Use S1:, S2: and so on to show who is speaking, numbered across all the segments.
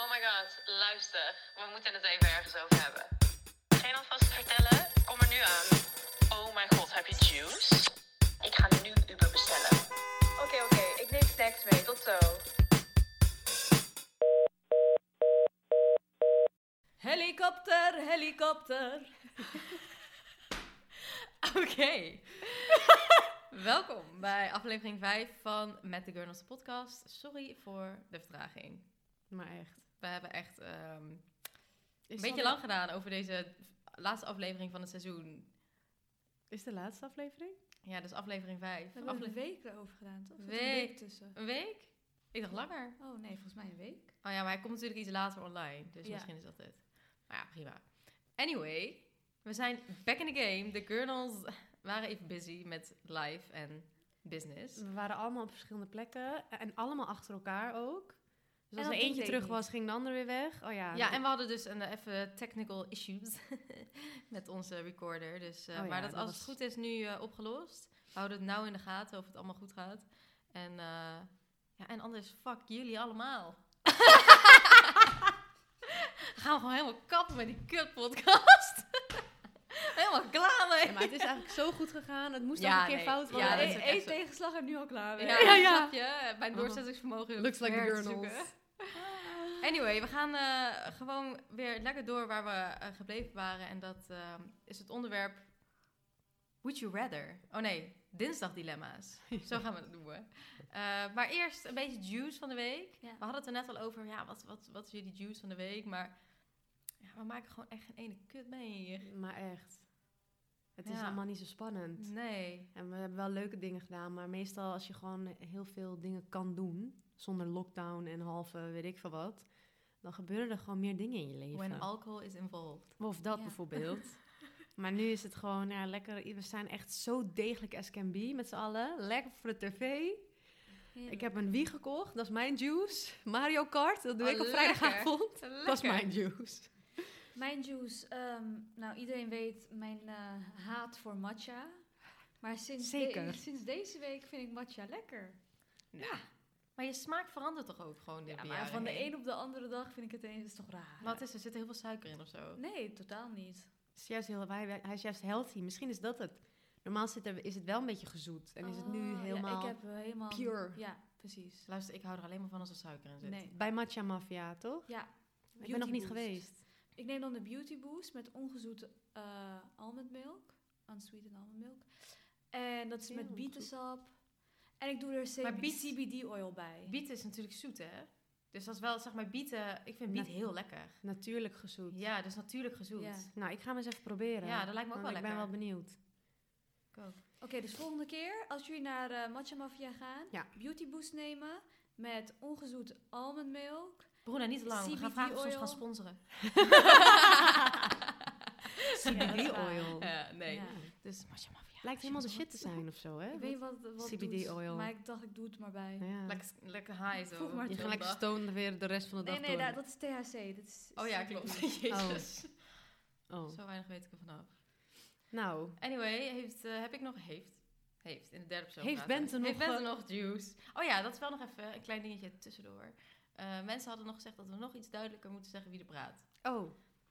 S1: Oh my god, luister. We moeten het even ergens over hebben. Geen alvast vertellen? Kom er nu aan. Oh my god, heb je juice? Ik ga nu Uber bestellen. Oké, oké. Ik neem snacks mee. Tot zo.
S2: Helikopter, helikopter.
S3: Oké. Welkom bij aflevering 5 van Met de Gurnals de podcast. Sorry voor de vertraging.
S2: Maar echt.
S3: We hebben echt ehm, een
S2: Is
S3: beetje lang gedaan over deze laatste aflevering van het seizoen.
S2: Is de laatste aflevering?
S3: Ja, dus aflevering 5.
S4: We hebben er een
S3: Afle-
S4: week erover gedaan, toch? Er zit
S3: Week.
S4: Een week tussen.
S3: een week? Ik dacht langer.
S4: Oh nee, volgens mij een week.
S3: Oh ja, maar hij komt natuurlijk iets later online. Dus
S4: Ja.
S3: misschien is dat het. Maar ja, prima. Anyway, we zijn back in the game. De Gurnals waren even busy met live en business.
S2: We waren allemaal op verschillende plekken en allemaal achter elkaar ook. Dus als
S4: dat ging
S2: er eentje
S4: ze
S2: terug
S4: niet.
S2: was, ging de ander weer weg. Oh ja.
S3: Ja, en we hadden dus een, eh, even technical issues met onze recorder. Dus, eh,
S2: Oh ja,
S3: maar dat,
S2: dat
S3: als
S2: was-
S3: het goed is nu eh, opgelost. We houden het nou in de gaten of het allemaal goed gaat. En, eh, ja, en anders, fuck jullie allemaal. Gaan we gewoon helemaal kappen met die kutpodcast. helemaal klaar mee.
S2: Ja, maar het is eigenlijk zo goed gegaan. Het moest
S3: Ja,
S2: nog een keer
S3: nee.
S2: fout
S3: Ja,
S2: worden. E-
S3: dat is
S4: Eén
S3: ook echt
S4: één
S3: zo.
S4: tegenslag en nu al klaar. weer.
S3: Ja,
S2: Ja, ja. Oh.
S3: snap je? Mijn doorzettingsvermogen
S2: Looks like the
S3: weer te
S2: Gurnals.
S3: zoeken. Anyway, we gaan eh, gewoon weer lekker door waar we eh, gebleven waren. En dat eh, is het onderwerp Would You Rather? Oh nee, dinsdagdilemma's. Zo gaan we het noemen. Eh, maar eerst een beetje juice van de week.
S4: Ja.
S3: We hadden het er net al over, ja, wat, wat, wat is jullie juice van de week? Maar ja, we maken gewoon echt geen ene kut mee hier.
S2: Maar echt. Het is
S3: Ja.
S2: allemaal niet zo spannend.
S3: Nee.
S2: En we hebben wel leuke dingen gedaan. Maar meestal als je gewoon heel veel dingen kan doen, zonder lockdown en halve weet ik veel wat, dan gebeuren er gewoon meer dingen in je leven.
S3: When alcohol is involved.
S2: Of dat
S4: Ja.
S2: bijvoorbeeld. maar nu is het gewoon ja, lekker. We zijn echt zo degelijk as can be met z'n allen. Lekker voor de tv.
S4: Heerlijk.
S2: Ik heb een Wii gekocht, dat is mijn juice. Mario Kart, dat doe
S3: Oh,
S2: ik op
S3: lekker.
S2: vrijdagavond.
S3: Lekker.
S2: Dat is mijn juice.
S4: Mijn juice. ehm, nou, iedereen weet mijn eh, haat voor matcha. Maar sinds, de-
S2: Zeker.
S4: sinds deze week vind ik matcha lekker.
S3: Maar je smaak verandert toch ook gewoon dit
S4: Ja,
S3: jaar
S4: maar van de een op de andere dag vind ik het eens. is toch raar?
S3: Wat is er? Zit er heel veel suiker in of zo?
S4: Nee, totaal niet.
S2: Het Is juist heel, hij, hij is juist healthy. Misschien is dat het. Normaal zit er, is het wel een beetje gezoet. En is het
S4: Oh,
S2: nu
S4: ja,
S2: helemaal...
S4: ik heb eh, helemaal...
S3: um,
S2: pure.
S4: Ja, precies.
S3: Luister, ik hou er alleen maar van als er suiker in zit.
S4: Nee.
S2: Bij Matcha Mafia, toch?
S4: Ja.
S2: Ik ben nog niet
S4: Beauty boost.
S2: geweest.
S4: Ik neem dan de Beauty Boost met ongezoete eh almondmilk. Unsweetened almondmilk. En dat is
S2: Heel
S4: met
S2: ongezoet.
S4: bietensap. En ik doe er
S3: Maar
S4: CBD,
S3: biet-
S4: CBD-oil bij.
S3: Bieten is natuurlijk zoet, hè? Dus dat is wel, zeg maar, bieten... Ik vind biet
S2: Na-
S3: heel lekker.
S2: Natuurlijk gezoet.
S3: Ja, dus natuurlijk gezoet.
S4: Ja.
S2: Nou, ik ga hem eens even proberen.
S3: Ja, dat lijkt me ook
S2: want
S3: wel
S2: ik ben wel
S3: lekker.
S2: benieuwd.
S3: Ik ook.
S4: Oké, dus volgende keer als jullie naar eh Matcha Mafia gaan,
S2: Ja.
S4: Beauty Boost nemen met ongezoete almondmilk.
S3: Bruna, niet te lang. We gaan
S4: CBD
S3: vragen of ze ons
S4: oil.
S3: gaan sponsoren.
S2: CBD-oil.
S3: Ja, nee.
S4: Ja.
S3: Dus Masha Mafia.
S2: Lijkt helemaal de shit te zijn of zo, hè?
S4: Ik weet niet wat, wat het
S2: CBD
S4: doet,
S2: oil.
S4: maar ik dacht ik doe het maar bij.
S2: Ja.
S3: Lekker, lekker high zo.
S4: Voeg maar
S2: Je
S4: toe.
S2: gaat lekker stoned weer de rest van de dag
S4: Nee, nee,
S2: door.
S4: daar- dat is THC. Dat is
S3: Oh ja,
S4: CBD.
S3: klopt. Jezus.
S2: Oh.
S3: Zo weinig weet ik ervan af.
S2: Nou,
S3: Anyway, heeft, eh, heb ik nog... Heeft. Heeft, in de derde persoon.
S2: Heeft
S3: praten.
S2: Bente nog,
S3: Heeft Bente
S2: eh,
S3: nog juice? Oh ja, dat is wel nog even een klein dingetje tussendoor. Eh, mensen hadden nog gezegd dat we nog iets duidelijker moeten zeggen wie er praat.
S2: oh,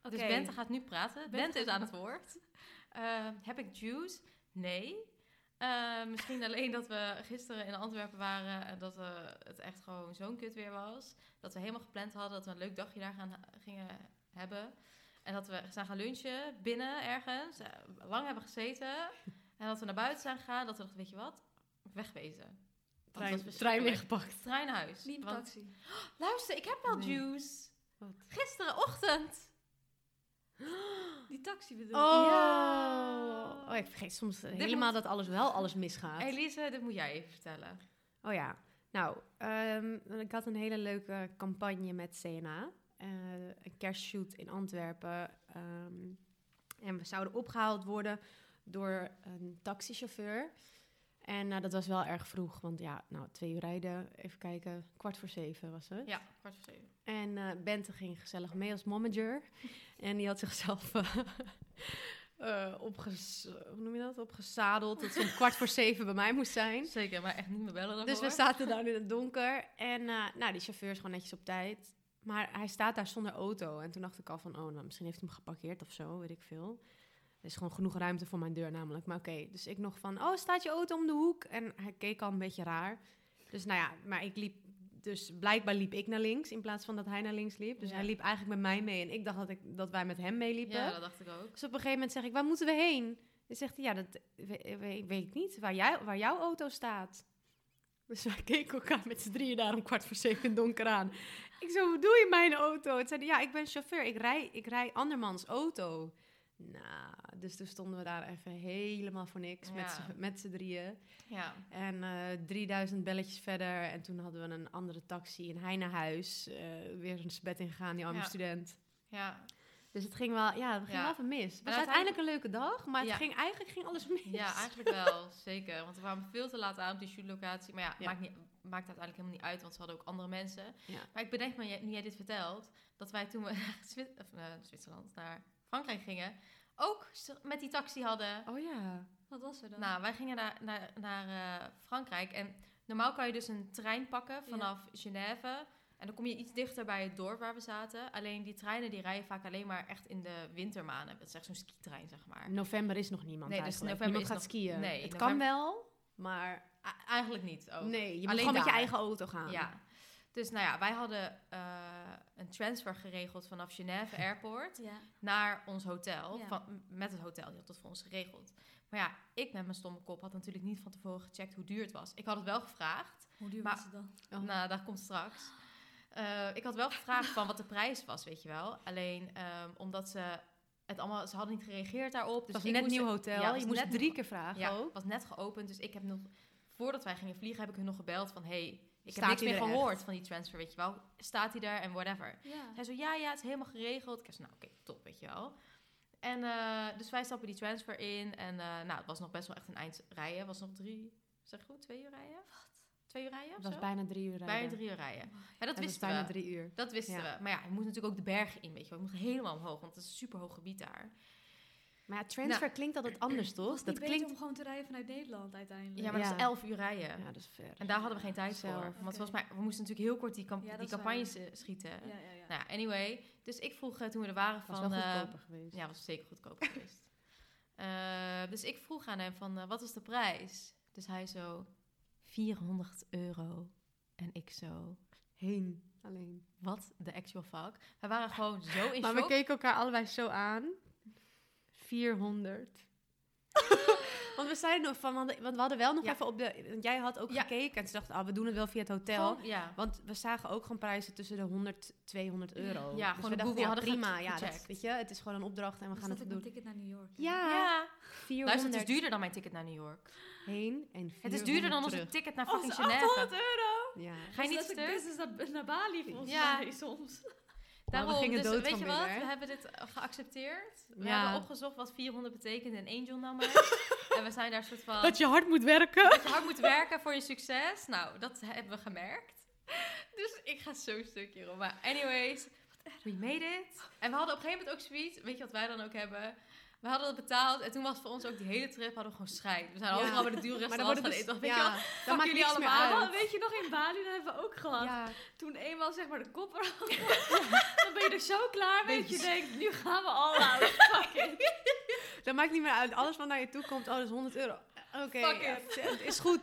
S4: Oké.
S3: Dus Bente gaat nu praten. Bente,
S4: Bente
S3: is aan het woord. Eh, heb ik juice? Nee. Eh, misschien alleen dat we gisteren in Antwerpen waren en dat eh, het echt gewoon zo'n kut weer was. Dat we helemaal gepland hadden dat we een leuk dagje daar gaan, eh, gingen hebben. En dat we zijn gaan lunchen binnen ergens, eh, lang hebben gezeten. En dat we naar buiten zijn gegaan, dat we dachten, weet je wat, wegwezen.
S2: Trein,
S3: dat was
S2: trein
S3: verschrikkelijk.
S2: weggepakt.
S3: Trein naar huis.
S4: Niet een
S3: Want-
S4: taxi.
S3: Luister, ik heb wel
S2: Nee.
S3: juice.
S2: Wat?
S3: Gisterenochtend.
S4: Die taxi bedoel
S2: Oh.
S3: Ja.
S2: oh, ik vergeet soms
S3: Dit
S2: helemaal
S3: moet-
S2: dat alles wel alles misgaat.
S3: Elise, dit moet jij even vertellen.
S2: Oh ja, nou, ehm, ik had een hele leuke campagne met CNA. Eh, een kerstshoot in Antwerpen. ehm, en we zouden opgehaald worden door een taxichauffeur. En nou, dat was wel erg vroeg, want ja, nou, twee uur rijden, even kijken, kwart voor zeven was het.
S3: Ja, kwart voor zeven.
S2: En eh, Bente ging gezellig mee als momager. En die had zichzelf eh eh, opges- hoe noem je dat? opgezadeld dat ze om kwart voor zeven bij mij moest zijn.
S3: Zeker, maar echt niet meer bellen
S2: Dus we zaten daar in het donker. En eh, nou, die chauffeur is gewoon netjes op tijd. Maar hij staat daar zonder auto. En toen dacht ik al van, oh, nou, misschien heeft hij hem geparkeerd of zo, weet ik veel. Er is gewoon genoeg ruimte voor mijn deur namelijk. Maar oké, dus ik nog van, oh, staat je auto om de hoek? En hij keek al een beetje raar. Dus nou ja, maar ik liep... Dus blijkbaar liep ik naar links in plaats van dat hij naar links liep. Dus
S3: Ja.
S2: hij liep eigenlijk met mij mee. En ik dacht dat, ik, dat wij met hem meeliepen.
S3: Ja, dat dacht ik ook.
S2: Dus op een gegeven moment zeg ik, waar moeten we heen? Dan zegt hij, ja, dat we- we- weet ik niet, waar, jij, waar jouw auto staat. Dus wij keken elkaar met z'n drieën daar om kwart voor zeven in het donker aan. Ik zo, hoe doe je mijn auto? Het zei hij, ja, ik ben chauffeur, ik rij, ik rij andermans auto. Nou, dus toen stonden we daar even helemaal voor niks met
S3: Ja.
S2: z'n- met z'n drieën.
S3: Ja.
S2: En eh, 3000 belletjes verder. En toen hadden we een andere taxi en hij naar huis. eh, weer een bed ingegaan, die arme
S3: Ja.
S2: student.
S3: Ja,
S2: Dus het ging wel, ja, het ging
S3: Ja.
S2: wel van mis. Het was
S3: En
S2: uiteindelijk een leuke dag, maar het
S3: Ja.
S2: ging, eigenlijk ging alles mis.
S3: ja eigenlijk wel. Zeker. Want we kwamen veel te laat aan op die shootlocatie. Maar ja,
S2: Ja.
S3: Maakt, niet, maakt uiteindelijk helemaal niet uit, want ze hadden ook andere mensen.
S2: Ja.
S3: Maar ik bedenk me, jij- nu jij dit vertelt, dat wij toen we naar Zwi- of, eh, Zwitserland, naar Frankrijk gingen, ook s- met die taxi hadden.
S2: Oh ja.
S4: Wat was er dan?
S3: Nou, wij gingen naar, naar, naar eh, Frankrijk. En normaal kan je dus een trein pakken vanaf Genève. En dan kom je iets dichter bij het dorp waar we zaten. Alleen die treinen die rijden vaak alleen maar echt in de wintermaanden. Dat is echt zo'n skitrein, zeg maar.
S2: November is nog niemand
S3: Nee, dus
S2: eigenlijk.
S3: november
S2: niemand
S3: is
S2: gaat
S3: nog-
S2: skiën.
S3: nee,
S2: het
S3: november-
S2: kan wel, maar
S3: A- eigenlijk niet ook.
S2: nee, je moet
S3: Alleen
S2: gewoon met je
S3: daar.
S2: eigen auto gaan.
S3: Ja. Dus nou ja, wij hadden eh, een transfer geregeld vanaf Genève Airport
S4: ja.
S3: naar ons hotel.
S4: Ja.
S3: Van, met het hotel, die had dat voor ons geregeld. Maar ja, ik met mijn stomme kop had natuurlijk niet van tevoren gecheckt hoe duur het was. Ik had het wel gevraagd.
S4: Hoe duur
S3: Maar-
S4: was het dan?
S2: Oh.
S3: Nou, daar komt straks. Eh, ik had wel gevraagd van wat de prijs was, weet je wel. Alleen ehm, omdat ze het allemaal, ze hadden niet gereageerd daarop. Dus
S2: het was
S3: ik
S2: een net
S3: moest-
S2: nieuw hotel,
S3: ja, het was
S2: je moest
S3: net-
S2: drie keer vragen
S3: Ja,
S2: ook.
S3: het was net geopend. Dus ik heb nog, voordat wij gingen vliegen, heb ik hun nog gebeld van... hey, ik
S2: Staat
S3: heb niks
S2: hij
S3: meer
S2: er
S3: gehoord van die transfer, weet je wel. Staat hij daar en whatever.
S4: Ja.
S3: Hij zo, ja, ja, het is helemaal geregeld. Ik zei, nou, oké, top, weet je wel. En eh, dus wij stappen die transfer in. En eh, nou, het was nog best wel echt een eind rijden. Het was nog drie, zeg ik goed, twee uur rijden? Twee uur rijden of
S2: Het
S3: zo?
S2: was bijna drie uur rijden.
S3: Bijna drie uur rijden. Maar dat
S2: Het was
S3: wisten
S2: bijna
S3: we.
S2: drie uur.
S3: Dat wisten
S2: Ja.
S3: we. Maar ja, je moet natuurlijk ook de bergen in, weet je wel. Je moet helemaal omhoog, want het is een superhoog gebied daar.
S2: Maar
S3: Nou.
S2: ja, transfer klinkt altijd anders,
S4: Was
S2: toch?
S4: het niet
S2: Dat
S4: beter
S2: klinkt...
S4: om gewoon te rijden vanuit Nederland uiteindelijk?
S3: Ja, maar dat
S2: Ja.
S3: is elf uur rijden.
S2: Ja, dat is ver.
S3: En daar hadden we geen tijd
S2: Zelf.
S3: voor. Want
S4: Oké.
S3: volgens mij, we moesten natuurlijk heel kort die, kamp-
S4: Ja, dat
S3: die
S4: is waar.
S3: campagnes eh, schieten.
S4: ja, ja, ja.
S3: Nou ja, anyway. Dus ik vroeg eh, toen we er waren
S2: Het was
S3: van...
S2: wel
S3: eh,
S2: goedkoper geweest.
S3: ja, was zeker goedkoper geweest. Eh, dus ik vroeg aan hem van, eh, wat is de prijs? Dus hij zo, 400 euro. En ik zo,
S2: Heen, alleen.
S3: wat the actual fuck? We waren gewoon zo in
S2: Maar we
S3: shock.
S2: keken elkaar allebei zo aan. 400. want we zeiden nog van, want want we hadden wel nog
S3: Ja.
S2: even op de. Want jij had ook
S3: Ja.
S2: gekeken en ze dachten, ah, we doen het wel via het hotel.
S3: Gewoon- ja.
S2: want we zagen ook gewoon prijzen tussen de 100, 200 euro.
S3: Ja, gewoon
S2: dus
S3: op
S2: we dachten,
S3: Google
S2: ja,
S3: hadden
S2: prima.
S3: ge-
S2: Ja, dat,
S3: gecheckt.
S2: weet je, het is gewoon een opdracht en we
S4: Was
S2: gaan
S4: Dus dat
S2: het
S4: ook een
S2: doen.
S4: ticket naar New York?
S2: Ja,
S3: ja. Luister,
S2: 400
S3: het is duurder dan mijn ticket naar New York.
S2: heen en 400
S3: Het is duurder dan onze
S2: terug.
S3: ticket naar
S4: Oh,
S3: fucking
S4: is
S3: Genève.
S4: 800 euro!
S2: Ja.
S3: Ga je niet
S4: dat is
S3: stuk?
S4: business naar, naar Bali volgens
S3: Ja.
S4: mij soms.
S3: Daarom,
S2: Maar we gingen
S3: dus
S2: dood
S3: weet je
S2: van
S3: wat?
S2: binnen, hè?
S3: We hebben dit eh, geaccepteerd. We
S2: Ja.
S3: hebben opgezocht wat 400 betekent in Angel Numbers. en we zijn daar een soort van...
S2: je hard moet werken.
S3: dat je hard moet werken voor je succes. Nou, dat hebben we gemerkt. Dus ik ga zo stuk hierom. Maar anyways, we made it. En we hadden op een gegeven moment ook zoiets. Weet je wat wij dan ook hebben? We hadden dat betaald. En toen was voor ons ook die hele trip hadden we gewoon scheid. We zijn
S2: Ja.
S3: overal bij de dure
S2: Maar dan
S3: restaurants
S2: wordt
S3: gaan eten.
S2: het dus,
S3: Dan
S2: ja,
S3: Weet je wel,
S2: dan maakt
S3: jullie
S2: niks meer
S3: allemaal
S2: uit.
S4: Oh, weet je nog in Bali, dat hebben we ook gehad.
S2: Ja.
S4: Toen eenmaal zeg maar de kop eraf, dan ben je er zo klaar mee dat je denkt, nu gaan we all out. Fuck it.
S2: Dat maakt niet meer uit. Alles wat naar je toe komt, oh, dat is 100 euro. Oké,
S3: Fuck
S2: ja,
S3: it.
S2: het is goed.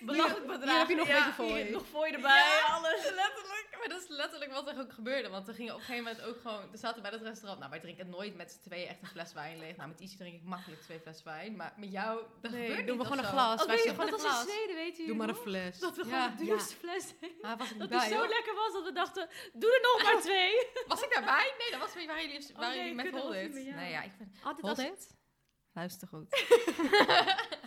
S3: Belachelijk
S2: hier
S3: bedrag.
S2: heb je nog een beetje fooi.
S3: hier heb je nog fooi erbij. alles. Letterlijk. Maar dat is letterlijk wat er ook gebeurde. Want er gingen op een gegeven moment ook gewoon... Er zaten bij dat restaurant... Nou, wij drinken nooit met z'n tweeën echt een fles wijn leeg. Nou, met Isi drink ik makkelijk twee fles wijn. Maar met jou, dat
S2: Nee,
S3: gebeurt
S2: doen
S3: niet
S2: we gewoon
S3: of
S2: een
S3: zo.
S2: glas.
S3: Oh,
S2: Wij
S3: weet je,
S2: zeggen
S3: dat
S2: gewoon
S3: was
S2: een
S3: in
S2: glas.
S3: Zweden, weet u
S2: Doe maar een
S3: nog?
S2: fles.
S3: Dat we
S2: Ja,
S3: gewoon de duurste fles
S4: deden.
S3: Ah, was ik
S4: Dat
S3: bij,
S4: die zo
S3: hoor.
S4: lekker was dat we dachten, doe er
S2: Oh.
S4: nog maar twee.
S3: Was ik daarbij? Nee, dat was waar jullie, waren
S4: nee,
S3: jullie met
S4: ik weet dat
S3: Holdit.
S4: niet meer, ja.
S3: Nee, ja, ik ben...
S2: Altijd als
S3: Holdit? Luister goed.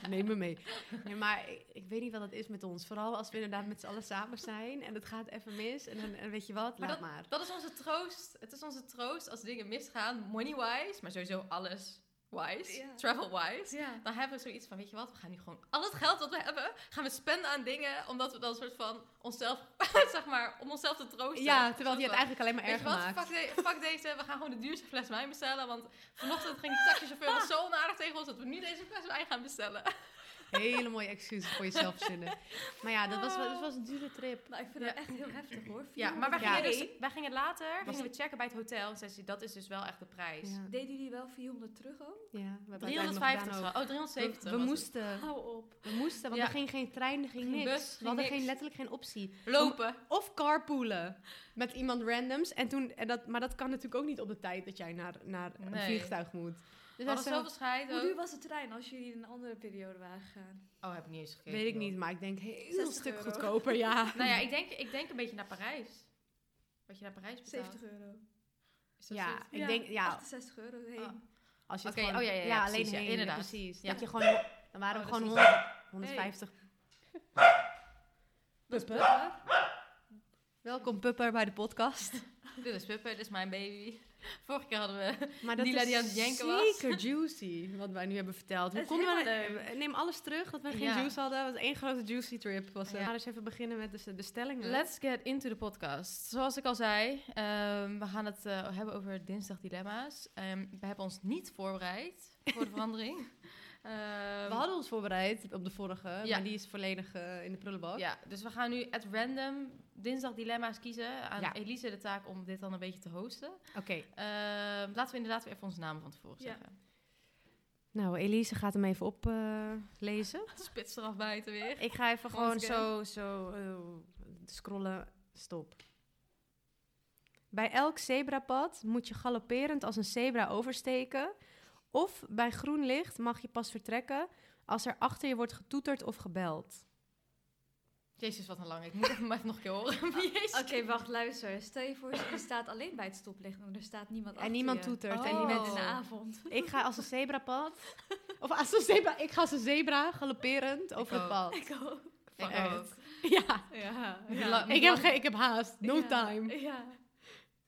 S2: Neem me mee. Nee, maar ik, ik weet niet wat dat is met ons. Vooral als we inderdaad met z'n allen samen zijn en het gaat even mis. En, dan en weet je wat,
S3: Maar
S2: laat maar.
S3: Dat is onze troost. Het is onze troost als dingen misgaan, money-wise, maar sowieso alles wise,
S4: Ja.
S3: travel-wise.
S4: Ja.
S3: Dan hebben we zoiets van, weet je wat, we gaan nu gewoon al het geld dat we hebben, gaan we spenden aan dingen, omdat we dan soort van onszelf, zeg maar, om onszelf te troosten.
S2: Ja, terwijl die
S3: Soort
S2: het
S3: van,
S2: eigenlijk alleen maar
S3: Weet je
S2: erger
S3: wat,
S2: maakt.
S3: fuck, de- fuck deze, we gaan gewoon de duurste fles wijn bestellen, want vanochtend ging die taxichauffeur ons zo onaardig tegen ons dat we nu deze fles wijn gaan bestellen.
S2: Hele mooie excuses voor jezelf zinnen. Maar ja, dat was, wel- dat was een dure trip.
S4: Maar ik vind dat echt heel heftig hoor.
S3: Ja, maar wij
S2: Ja.
S3: gingen,
S4: €400.
S3: dus, wij gingen later,
S2: Was-
S3: gingen we checken bij het hotel en zei ze, dat is dus wel echt de prijs.
S2: Ja,
S4: Deden jullie wel 400 terug ook?
S2: ja we hebben uiteindelijk nog
S3: 350
S2: gedaan
S3: of zo.
S2: ook.
S3: Oh, 370
S2: We, we
S3: was het.
S2: moesten,
S4: Hou op.
S2: we moesten, want
S3: Ja.
S2: er ging geen trein, er ging
S3: Geen
S2: niks.
S3: bus,
S2: we
S3: geen
S2: hadden
S3: niks.
S2: Geen, letterlijk geen optie.
S3: Lopen.
S2: Of carpoolen met iemand randoms. En toen, en dat, maar dat kan natuurlijk ook niet op de tijd dat jij naar, naar een
S3: Nee.
S2: vliegtuig moet. Dus
S3: We
S2: dat
S3: hadden
S2: is
S3: zoveel scheid
S4: Hoe duur
S3: ook.
S4: was de trein als jullie in een andere periode waren gegaan?
S3: Oh, heb ik niet eens gekeken.
S2: Weet ik
S3: joh.
S2: niet, maar ik denk heel
S4: 60
S2: stuk
S4: euro.
S2: goedkoper, ja.
S3: Nou ja, ik denk, ik denk een beetje naar Parijs. Wat je naar Parijs betaalt.
S4: 70 euro.
S3: Is dat
S2: Ja,
S3: zoiets?
S2: ik denk, ja,
S4: 68 euro heen.
S3: Ah.
S2: als je het
S3: Oké,
S2: gewoon...
S3: oh ja, ja, ja,
S2: alleen
S3: precies, ja,
S2: heen,
S3: inderdaad.
S2: precies.
S3: Ja.
S2: Dat je gewoon... Dan waren
S3: Oh,
S2: we
S3: dat is
S2: gewoon 100, 150.
S4: Ja.
S2: Welkom Pupper bij de podcast.
S3: Dit is Puppe, dit is mijn baby. Vorige keer hadden we...
S2: Maar dat
S3: Nila
S2: is
S3: die aan het janken was.
S2: zeker juicy, wat wij nu hebben verteld. Hoe
S4: Het is
S2: konden we...
S4: helemaal
S2: Neem alles terug, dat we geen
S3: Ja.
S2: juice hadden. Het was één grote juicy trip. Was het.
S3: Ja.
S2: We gaan dus even beginnen met de, de stellingen.
S3: Let's get into the podcast. Zoals ik al zei, ehm, we gaan het eh, hebben over dinsdag dilemma's. Ehm, we hebben ons niet voorbereid voor de verandering. Ehm,
S2: we hadden ons voorbereid op de vorige,
S3: Ja.
S2: maar die is volledig eh, in de prullenbak.
S3: Ja, dus we gaan nu at random dinsdag dilemma's kiezen. Aan
S2: Ja.
S3: Elise de taak om dit dan een beetje te hosten.
S2: Oké.
S3: Ehm, laten we inderdaad weer even onze namen van tevoren
S4: Ja.
S3: zeggen.
S2: Nou, Elise gaat hem even eh, oplezen.
S3: Spits eraf buiten weer.
S2: Ik ga even
S3: Gewoon
S2: gewoon zo, zo eh, scrollen. Stop. Bij elk zebrapad moet je galopperend als een zebra oversteken. Of bij groen licht mag je pas vertrekken als er achter je wordt getoeterd of gebeld.
S3: Jezus, wat een lange. Ik moet even maar even nog een keer horen. Jezus.
S4: Oké, wacht, luister. Stel je voor, je staat alleen bij het stoplicht en er staat niemand
S2: en
S4: achter
S2: niemand
S4: je.
S2: toetert.
S3: Oh.
S2: En
S4: En je bent in
S2: niemand...
S4: de avond.
S2: Ik ga als een zebrapad. Of als een zebra. Ik ga als een zebra galopperend over het
S3: ook.
S2: pad.
S4: Ik ook.
S3: Fuck
S2: echt.
S3: ook.
S2: Ja.
S4: Ja.
S3: Ja.
S2: Ik heb, geen- ik heb haast. No
S4: Ja.
S2: time.
S4: Ja.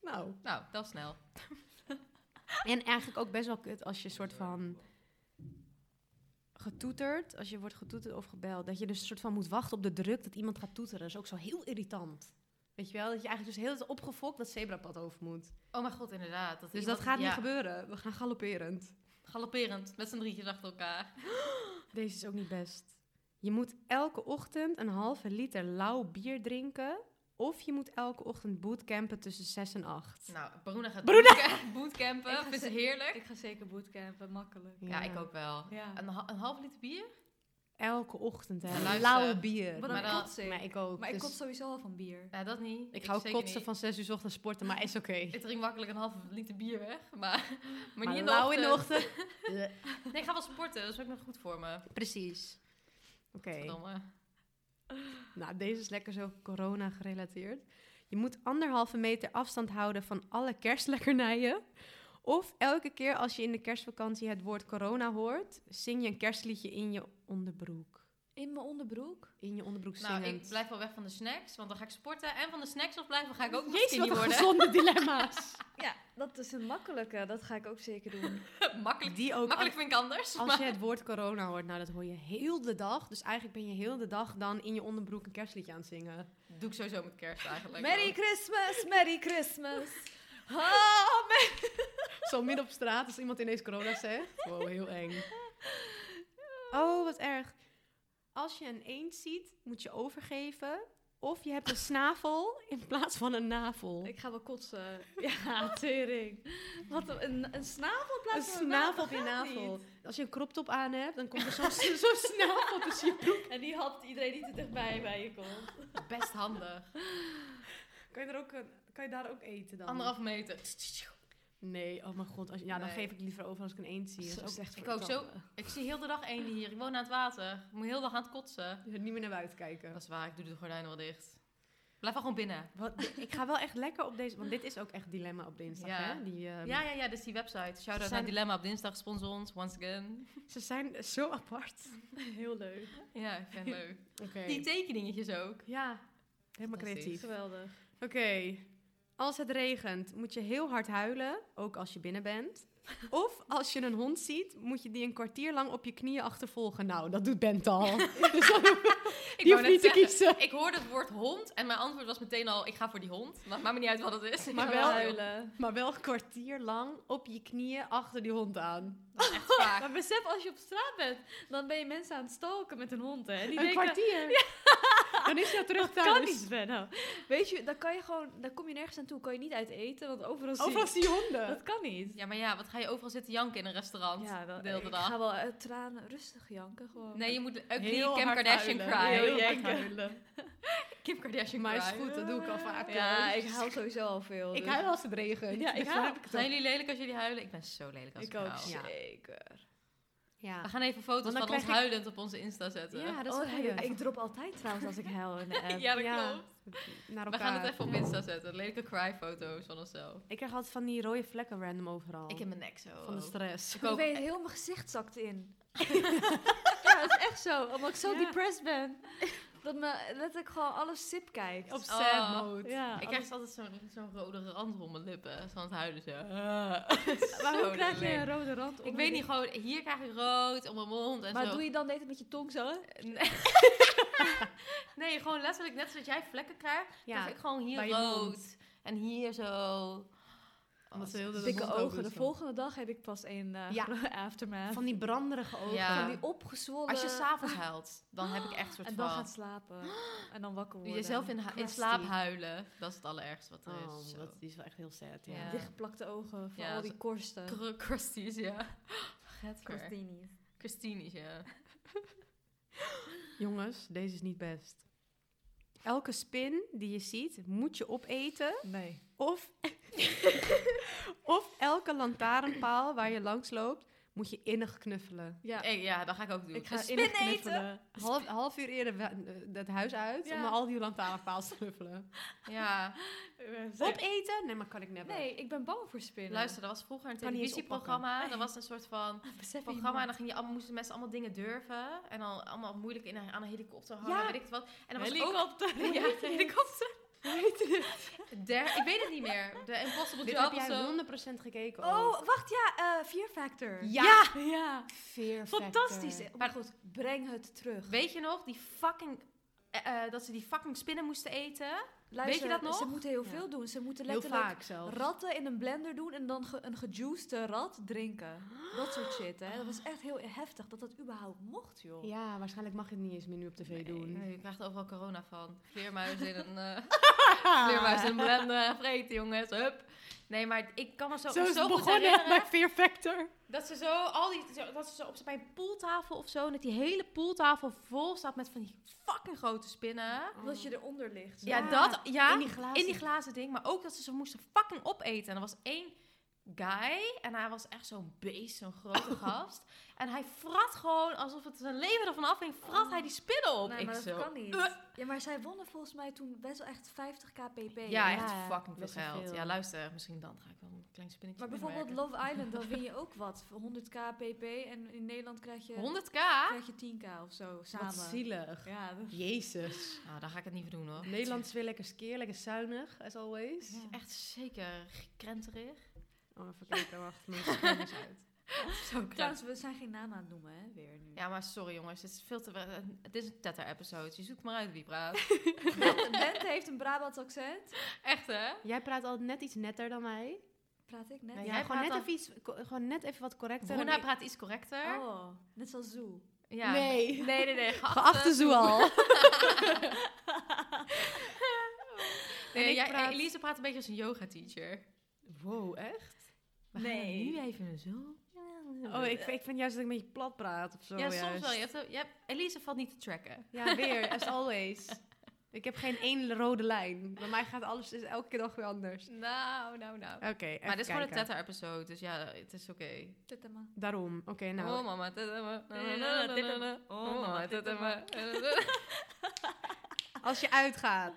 S2: Nou.
S3: Nou, dat is snel.
S2: En eigenlijk ook best wel kut als je soort van getoeterd, als je wordt getoeterd of gebeld, dat je dus soort van moet wachten op de druk dat iemand gaat toeteren. Dat is ook zo heel irritant. Weet je wel, dat je eigenlijk dus heel hele tijd opgefokt dat zebrapad over moet.
S3: Oh mijn god, inderdaad. Dat
S2: Dus
S3: iemand-
S2: dat gaat
S3: ja,
S2: niet gebeuren. We gaan galopperend.
S3: Galopperend, met z'n drietjes achter elkaar.
S2: Deze is ook niet best. Je moet elke ochtend een halve liter lauw bier drinken. Of je moet elke ochtend bootcampen tussen 6 en 8.
S3: Nou, Bruna gaat
S2: Bruna!
S3: bootcamp- bootcampen.
S4: Ik ga
S3: Vindt ze
S4: ze-
S3: heerlijk.
S4: Ik ga zeker bootcampen, makkelijk.
S3: Nou, Ja, ik ook wel.
S4: Ja.
S3: Een, ha- een half liter bier?
S2: Elke ochtend,
S3: Ja,
S2: hè.
S3: Nou, luister.
S2: Lauw bier.
S4: Wat
S3: Maar
S4: een
S3: dan-
S4: kotsing.
S2: Maar ik ook.
S4: Maar ik
S2: dus-
S4: kot sowieso al van bier.
S3: Ja, Nou, dat niet.
S2: Ik ga ook
S3: zeker
S2: kotsen
S3: niet.
S2: van 6 uur 's ochtends sporten, maar is oké.
S3: Ik drink makkelijk een half liter bier weg. Maar, maar, niet in de,
S2: lauw
S3: ochtend.
S2: ochtend.
S3: Nee, ik ga wel sporten. Dat is ook nog goed voor me.
S2: Precies. Oké.
S3: Verdomme.
S2: Nou, deze is lekker zo corona gerelateerd. Je moet anderhalve meter afstand houden van alle kerstlekkernijen. Of elke keer als je in de kerstvakantie het woord corona hoort, zing je een kerstliedje in je onderbroek.
S4: In mijn onderbroek?
S2: In je onderbroek zingen.
S3: Nou, ik blijf wel weg van de snacks, want dan ga ik sporten. En van de snacks afblijven ga ik ook nog
S2: Jezus, wat
S3: skinny
S2: een
S3: worden.
S2: gezonde dilemma's.
S4: Ja, dat is een makkelijke. Dat ga ik ook zeker doen.
S3: makkelijk,
S2: Die ook.
S3: makkelijk vind ik anders.
S2: Als
S3: maar-
S2: je het woord corona hoort, nou dat hoor je heel de dag. Dus eigenlijk ben je heel de dag dan in je onderbroek een kerstliedje aan het zingen.
S3: Doe ik sowieso met kerst eigenlijk.
S4: Merry Christmas, Merry Christmas.
S3: Oh, man.
S2: Zo midden op straat als iemand ineens corona zegt. Wow, heel eng. Oh, wat erg. Als je een eend ziet, moet je overgeven. Of je hebt een snavel in plaats van een navel.
S4: Ik ga wel kotsen. Ja, tering. Wat een, een snavel in
S2: Een
S4: plaats van
S2: snavel op je
S4: dat gaat
S2: navel.
S4: niet.
S2: Als je een crop top aan hebt, dan komt er zo'n zo snavel tussen je broek.
S4: En die hapt iedereen die te dichtbij bij je komt.
S3: Best handig.
S2: Kan je, er ook een- kan je daar ook eten dan?
S3: Anderhalf meter.
S2: Nee, oh mijn god. Als, ja, dan
S3: Nee.
S2: geef ik liever over als ik een eend zie. Dat
S4: Zo
S2: is ook
S4: slecht
S2: echt
S3: Ik ook zo. Ik zie heel de dag één hier. Ik woon aan het water. Ik moet heel de dag aan het kotsen.
S2: Je moet Niet meer naar buiten kijken.
S3: Dat is waar. Ik doe de gordijnen wel dicht. Blijf wel gewoon binnen.
S2: Wat, ik ga wel echt lekker op deze... Want dit is ook echt dilemma op dinsdag,
S3: Ja.
S2: hè? Die, ehm,
S3: Ja, ja, ja. Dus die website. Shout out
S2: Zijn-
S3: naar Dilemma op dinsdag. Sponsor ons. Once again.
S2: Ze zijn zo apart.
S4: Heel leuk.
S3: Ja, ik vind het leuk.
S2: Oké.
S3: Die tekeningetjes ook.
S2: Ja, helemaal
S3: Fantastisch.
S2: creatief. Oké.
S4: Geweldig.
S2: Als het regent, moet je heel hard huilen. Ook als je binnen bent. Of als je een hond ziet, moet je die een kwartier lang op je knieën achtervolgen. Nou, dat doet Bent al. dus dan
S3: Ik
S2: die
S3: wou
S2: hoeft
S3: net
S2: niet te
S3: zeggen,
S2: kiezen.
S3: Ik hoorde het woord hond en mijn antwoord was meteen al, ik ga voor die hond. Ma- Maakt me niet uit wat het is. Ik
S2: Maar
S3: ga
S2: wel-
S4: huilen.
S2: Maar wel een kwartier lang op je knieën achter die hond aan.
S3: Dat is echt vaak.
S4: Maar besef, als je op straat bent, dan ben je mensen aan het stalken met een dus." hond, hè? En die
S2: een
S4: denken,
S2: kwartier? Dan is hij terug thuis.
S4: kan niet, Benno. Weet je, dan kan je gewoon, dan kom je nergens aan toe. Kan je niet uit eten, want overal zie je-
S2: Overal zie je honden.
S4: Dat kan niet.
S3: Ja, maar ja, wat ga je overal zitten janken in een restaurant?
S4: wel,
S3: de hele
S4: ik
S3: dag.
S4: ga wel uit tranen rustig janken gewoon.
S3: Nee, je moet ugly Kim Kardashian cry.
S2: Heel
S4: Ja,
S2: hard
S4: ik-
S2: huilen.
S3: Kim Kardashian
S2: Maar
S3: cry.
S2: is goed, dat doe ik al vaker.
S4: ja, ik huil sowieso al veel.
S2: Ik
S4: dus-
S2: huil als het regent.
S4: Ja, ik
S2: Dus dan
S4: huil.
S2: heb het
S3: Zijn
S2: ook.
S3: jullie lelijk als jullie huilen? Ik ben zo lelijk als ik,
S4: Ik ook,
S3: huil.
S2: Ja.
S4: zeker.
S2: Ja.
S3: We gaan even foto's
S2: Want dan
S3: van ons
S2: krijg ik-
S3: huilend op onze Insta zetten.
S2: Ja, dat is
S4: Oh,
S2: een goeie.
S4: ik, ik drop altijd trouwens als ik huil in de app.
S3: Ja, dat
S2: eh, Ja.
S3: klopt.
S2: Naar
S3: We
S2: elkaar.
S3: gaan het even op Insta zetten. Lelijke cry foto's van onszelf.
S2: Ik krijg altijd van die rode vlekken random overal.
S3: Ik heb mijn nek zo.
S2: van de stress.
S3: Ik
S4: Ik
S3: ook.
S4: weet, heel mijn gezicht zakt in. ja, dat is echt zo. Omdat ik zo
S2: Ja.
S4: depressed ben. Dat me letterlijk gewoon alles sip kijkt.
S2: Op
S3: sad
S2: sad
S3: mode.
S2: mode. Ja,
S3: Ik krijg altijd zo'n zo'n rode rand rond mijn lippen. Zo aan het huilen zo.
S4: maar
S3: Zo
S4: hoe krijg je
S3: lelijk.
S4: een rode rand onder
S3: Ik weet
S4: je-
S3: niet, gewoon hier krijg ik rood op mijn mond en
S4: Maar
S3: zo.
S4: doe je dan deed met je tong zo?
S3: Nee. nee, gewoon letterlijk net zoals jij vlekken krijgt,
S2: Ja,
S3: krijg ik gewoon
S2: bij
S3: hier
S2: je
S3: rood. En hier zo.
S2: Omdat ze
S3: Oh,
S2: heel de
S4: Dikke
S2: mond ook
S4: ogen.
S2: doet
S4: De
S2: zo.
S4: volgende dag heb ik pas een eh,
S2: Ja.
S4: aftermath.
S2: Van die branderige ogen.
S3: Ja.
S4: Van die opgezwollen.
S3: Als je s'avonds huilt, dan heb ik echt soort
S4: En
S3: van...
S4: dan gaat slapen. En dan wakker worden.
S3: Jezelf in, ha- in
S2: crusty.
S3: slaap huilen, dat is het allerergste wat er is.
S2: Oh,
S3: zo.
S2: dat, die is wel echt heel sad. Ja.
S3: Ja.
S4: Dichtgeplakte ogen van
S3: Ja,
S4: al
S3: zo-
S4: die korsten.
S3: Cr- crusties, ja. Getker.
S4: Korstini's.
S3: Christinies, ja.
S2: Jongens, deze is niet best. Elke spin die je ziet, moet je opeten.
S4: Nee.
S2: Of, of elke lantaarnpaal waar je langs loopt, moet je innig knuffelen.
S4: Ja.
S3: Hey, ja, dat ga ik ook doen. Dus,
S4: Ik ga
S3: Een
S4: innig
S3: spin
S4: knuffelen.
S2: Half, half uur eerder we- het huis uit
S4: Ja.
S2: om al die lantaarnpaals te knuffelen.
S3: Ja.
S2: Opeten? Nee, maar kan ik never.
S4: Nee, ik ben bang voor spinnen.
S3: Luister, dat was vroeger een
S2: Kan niet eens
S3: televisieprogramma. Dat was een soort van
S4: Besef je
S3: programma. En
S4: iemand-
S3: dan ging je allemaal, moesten mensen allemaal dingen durven. En dan allemaal moeilijk in een, aan een helikopter hangen,
S2: Ja.
S3: weet ik het wat. En dan was helikopter. Ook, ja, helikopter. Der, ik weet het niet meer. De Impossible
S2: Dit
S3: Job
S2: heb
S3: of zo.
S2: jij 100% gekeken ook.
S4: Oh, wacht, ja. eh Fear Factor.
S2: Ja!
S4: Ja.
S2: Fear Factor.
S4: Fantastisch.
S3: Maar
S4: Maar goed, breng het terug.
S3: Weet je nog, die fucking... eh, eh, dat ze die fucking spinnen moesten eten.
S4: Luister,
S3: je dat nog?
S4: Ze moeten heel
S2: Ja.
S4: veel doen. Ze moeten
S2: Heel
S4: letterlijk
S2: vaak zelfs.
S4: ratten in een blender doen en dan ge- een gejuicede rat drinken. Dat soort shit, hè. Dat was
S3: Ah.
S4: echt heel heftig dat dat überhaupt mocht, joh.
S2: Ja, waarschijnlijk mag je het niet eens meer nu op tv doen.
S3: Nee, Eh, je krijgt overal corona van. Vleermuizen in een, eh
S2: Ah.
S3: vleermuis in een blender. en Vreten, jongens. Hup. Nee, maar ik kan me zo,
S2: Zo is
S3: zo
S2: het
S3: goed
S2: begonnen
S3: herinneren.
S2: bij Fear Factor.
S3: Dat ze zo, al die, zo- dat ze zo op bij een poeltafel of zo, en dat die hele poeltafel vol staat met van die fucking grote spinnen.
S4: Omdat je eronder ligt. zo.
S3: Ja,
S2: Ja,
S3: dat, ja, in
S2: in
S3: die,
S2: die glazen.
S3: glazen ding, maar ook dat ze ze moesten fucking opeten. En er was één guy, en hij was echt zo'n beest, zo'n grote gast. En hij frat gewoon, alsof het zijn leven ervan afhing, frat hij die spinnen op.
S4: Nee,
S3: Ik
S4: maar dat
S3: zo,
S4: kan niet.
S3: "Uh."
S4: Ja, maar zij wonnen volgens mij toen best wel echt 50 kpp.
S3: Ja, echt
S2: Ja,
S3: fucking veel
S2: best wel
S3: geld.
S2: veel.
S3: Ja, luister, misschien dan ga ik wel een klein spinnetje
S4: Maar bijvoorbeeld
S3: binnenwerken.
S4: Love Island, dan win je ook wat. voor 100 kpp en in Nederland krijg je,
S3: 100k?
S4: krijg je 10k of zo samen.
S2: Wat zielig.
S4: Ja, dat-
S2: Jezus.
S3: Nou, daar ga ik het niet voor doen hoor.
S2: Nederland is weer lekker skeer, lekker zuinig, as always.
S4: Ja.
S3: Echt zeker gekrenterig.
S2: Oh, even kijken, wacht. Mijn scherm is uit.
S3: Zo
S4: Trouwens, we zijn geen naam aan het noemen, hè, weer nu.
S3: Ja, maar sorry jongens, het is veel te... eh, Het is een tetter-episode, je zoekt maar uit wie praat.
S4: Bent, Bente heeft een Brabants accent.
S3: Echt hè?
S2: Jij praat altijd net iets netter dan mij.
S4: Praat ik
S3: Nee,
S4: net?
S3: jij
S2: Ja, gewoon
S3: praat
S2: net,
S3: al-
S2: even iets, ko- gewoon net even wat correcter.
S3: Bruna
S2: dan ik.
S3: praat iets correcter.
S4: Oh, net zoals Zoe.
S3: Ja.
S2: Nee.
S3: Nee, nee, nee. Geachte,
S2: Geachte Zoal. En
S3: Nee,
S2: ik
S3: jij,
S2: praat-
S3: Elise praat een beetje als een yoga-teacher.
S2: Wow, echt?
S3: We gaan het
S4: Nee.
S3: nu even zo...
S2: Oh, ik, ik vind juist dat ik een beetje plat praat of zo.
S3: ja, soms
S2: juist.
S3: wel. Je hebt, je hebt, Elise valt niet te tracken.
S2: Ja, weer, as always. Ik heb geen één rode lijn. Bij mij gaat alles is elke keer dag weer anders.
S3: Nou, nou, nou.
S2: Oké,
S3: maar dit is gewoon een Teta-episode, dus ja, het is oké.
S4: Tittema.
S2: Daarom, oké, nou.
S3: Oh mama, Teta.
S4: Teta, teta.
S3: Oh mama, Teta.
S2: Als je uitgaat.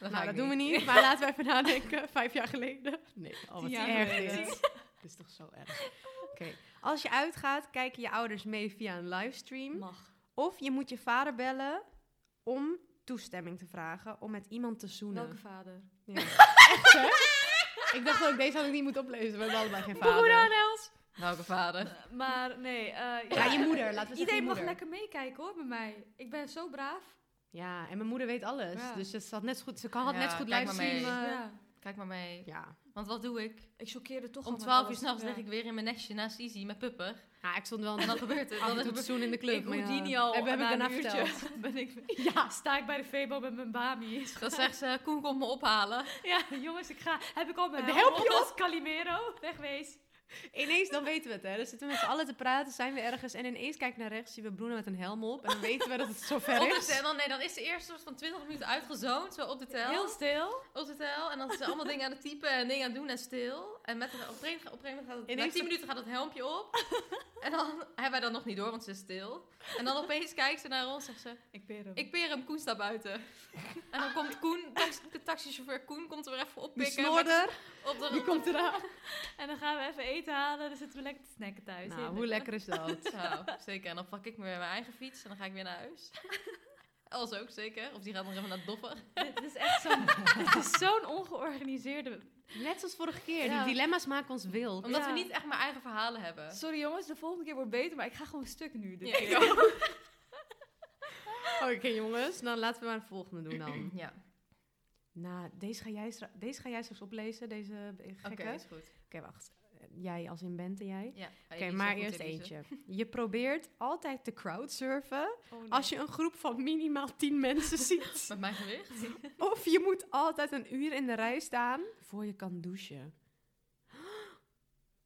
S3: Dat
S2: nou, dat doen we niet, maar laten we even nadenken. Vijf jaar geleden. Nee, al wat
S3: Tien jaar
S2: erg
S3: geleden.
S2: dit. Dit is toch zo erg. Oké, als je uitgaat, kijken je ouders mee via een livestream.
S4: Mag.
S2: Of je moet je vader bellen om toestemming te vragen om met iemand te zoenen.
S4: Welke vader?
S2: Ja. Echt, hè? Ik dacht ook, deze had ik niet moeten oplezen. We hebben allebei geen vader.
S3: Broer aan Els. Welke vader?
S4: Eh, maar nee. eh,
S2: Ja, je moeder. Laten we zeggen je
S4: Iedereen mag
S2: moeder.
S4: lekker meekijken hoor, bij mij. Ik ben zo braaf.
S2: Ja, en mijn moeder weet alles.
S4: Ja.
S2: Dus ze had net zo goed, ze kan- had
S3: Ja,
S2: net zo goed
S3: kijk maar
S2: livestream.
S3: mee.
S2: eh,
S4: ja.
S3: Kijk maar mee.
S2: ja.
S3: Want wat doe ik?
S4: Ik choqueerde toch al
S3: Om
S4: met
S3: 12 uur
S4: alles.
S3: s'nachts
S4: Ja.
S3: lig ik weer in mijn nestje naast Izzy met Pupper.
S2: ja, ik stond wel
S3: En
S2: een
S3: dan gebeurt het.
S2: af en
S3: Dan
S2: toe te
S3: gebeurt-
S2: zoenen in de club.
S3: Ik
S2: maar ja.
S3: Houdini al
S2: Heb, heb
S3: na
S2: ik daarna
S3: een uurtje.
S2: verteld.
S4: Ben ik, ja, sta ik bij de Febo met mijn Bami.
S3: Dan zegt ze, Koen komt me ophalen.
S4: Ja, jongens, ik ga. Heb ik al mijn
S2: De help je
S4: helm op? Calimero, wegwees.
S2: Ineens, dan weten we het, hè. Dan zitten we met z'n allen te praten, zijn we ergens. En ineens kijk ik naar rechts, zien we Bruno met een helm op. En dan weten we dat het zover
S3: Op de
S2: is.
S3: tel. Nee, dan is ze eerst soort van 20 minuten uitgezoond. Zo op de tel.
S4: Heel stil.
S3: op de tel. En dan is ze allemaal dingen aan het typen en dingen aan het doen en stil. En met, de- op, een gegeven, op een gegeven moment gaat het...
S2: Ineens
S3: na 10
S2: de-
S3: minuten gaat het helmpje op. en dan hebben wij dat nog niet door, want ze is stil. En dan opeens kijkt ze naar ons en zegt ze...
S4: Ik ben hem.
S3: Ik peer hem, Koen staat buiten. En dan komt Koen, tax- de taxichauffeur Koen, komt er weer even
S2: Die
S3: oppikken.
S2: snorder,
S3: met- Op de,
S2: die komt eraan.
S4: En dan gaan we even eten halen. Dan zitten we lekker te snacken thuis.
S2: Nou, hoe lekker is dat?
S3: Nou, zeker. En dan pak ik me weer mijn eigen fiets en dan ga ik weer naar huis. Els ook, zeker. Of die gaat nog even naar het doffer.
S4: Dit is echt zo'n dit is zo'n ongeorganiseerde...
S2: Net zoals vorige keer.
S4: Ja.
S2: Die dilemma's maken ons wild.
S3: Omdat
S4: Ja.
S3: we niet echt mijn eigen verhalen hebben.
S4: Sorry jongens, de volgende keer wordt beter, maar ik ga gewoon stuk nu. Dit
S3: Ja, ik
S4: keer.
S3: ook.
S2: Oké jongens, dan laten we maar een volgende doen dan.
S3: Ja,
S2: nou, deze ga jij, stra- deze ga jij straks oplezen, deze gekke.
S3: oké,
S2: Oké,
S3: is goed.
S2: wacht. Eh, Jij als in Bente, jij. Oké,
S3: Ja, Oké,
S2: maar eerst eentje. Je probeert altijd te crowdsurfen
S4: Oh, nee.
S2: als je een groep van minimaal 10 mensen ziet.
S3: Met mijn gewicht?
S2: Of je moet altijd een uur in de rij staan voor je kan douchen.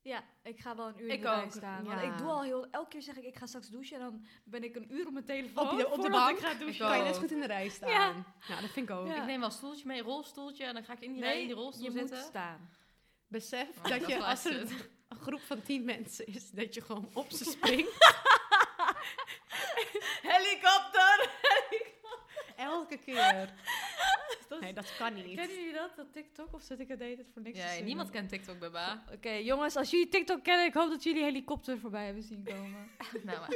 S4: Ja, ik ga wel een uur
S3: Ik
S4: in de rij
S3: ook,
S4: staan. Want
S2: ja.
S4: ik doe al heel... Elke keer zeg ik, ik ga straks douchen. En dan ben ik een uur op mijn telefoon
S2: Op je- op de
S4: voordat
S2: bank.
S4: ik ga
S3: Oh, Ik
S4: douchen.
S3: ook.
S2: Kan je net zo goed in de rij staan?
S4: Ja.
S2: Nou, dat vind ik ook.
S4: Ja.
S3: Ik neem wel een stoeltje mee, een rolstoeltje. En dan ga ik in die,
S4: Nee,
S3: rij in die rolstoel
S4: je
S3: zitten.
S4: moet staan.
S2: Besef
S3: Oh,
S2: dat,
S3: dat
S2: je,
S3: laatste.
S2: als er een, een groep van 10 mensen is, dat je gewoon op ze springt.
S4: Helikopter!
S2: Elke keer.
S4: Dat
S2: Nee, dat kan niet.
S4: Kennen jullie dat, dat TikTok? Of zit ik het de hele tijd voor niks
S3: Ja,
S4: te zingen?
S3: niemand kent TikTok, baba.
S4: Oké, jongens, als jullie TikTok kennen, ik hoop dat jullie helikopter voorbij hebben zien komen.
S3: nou, maar.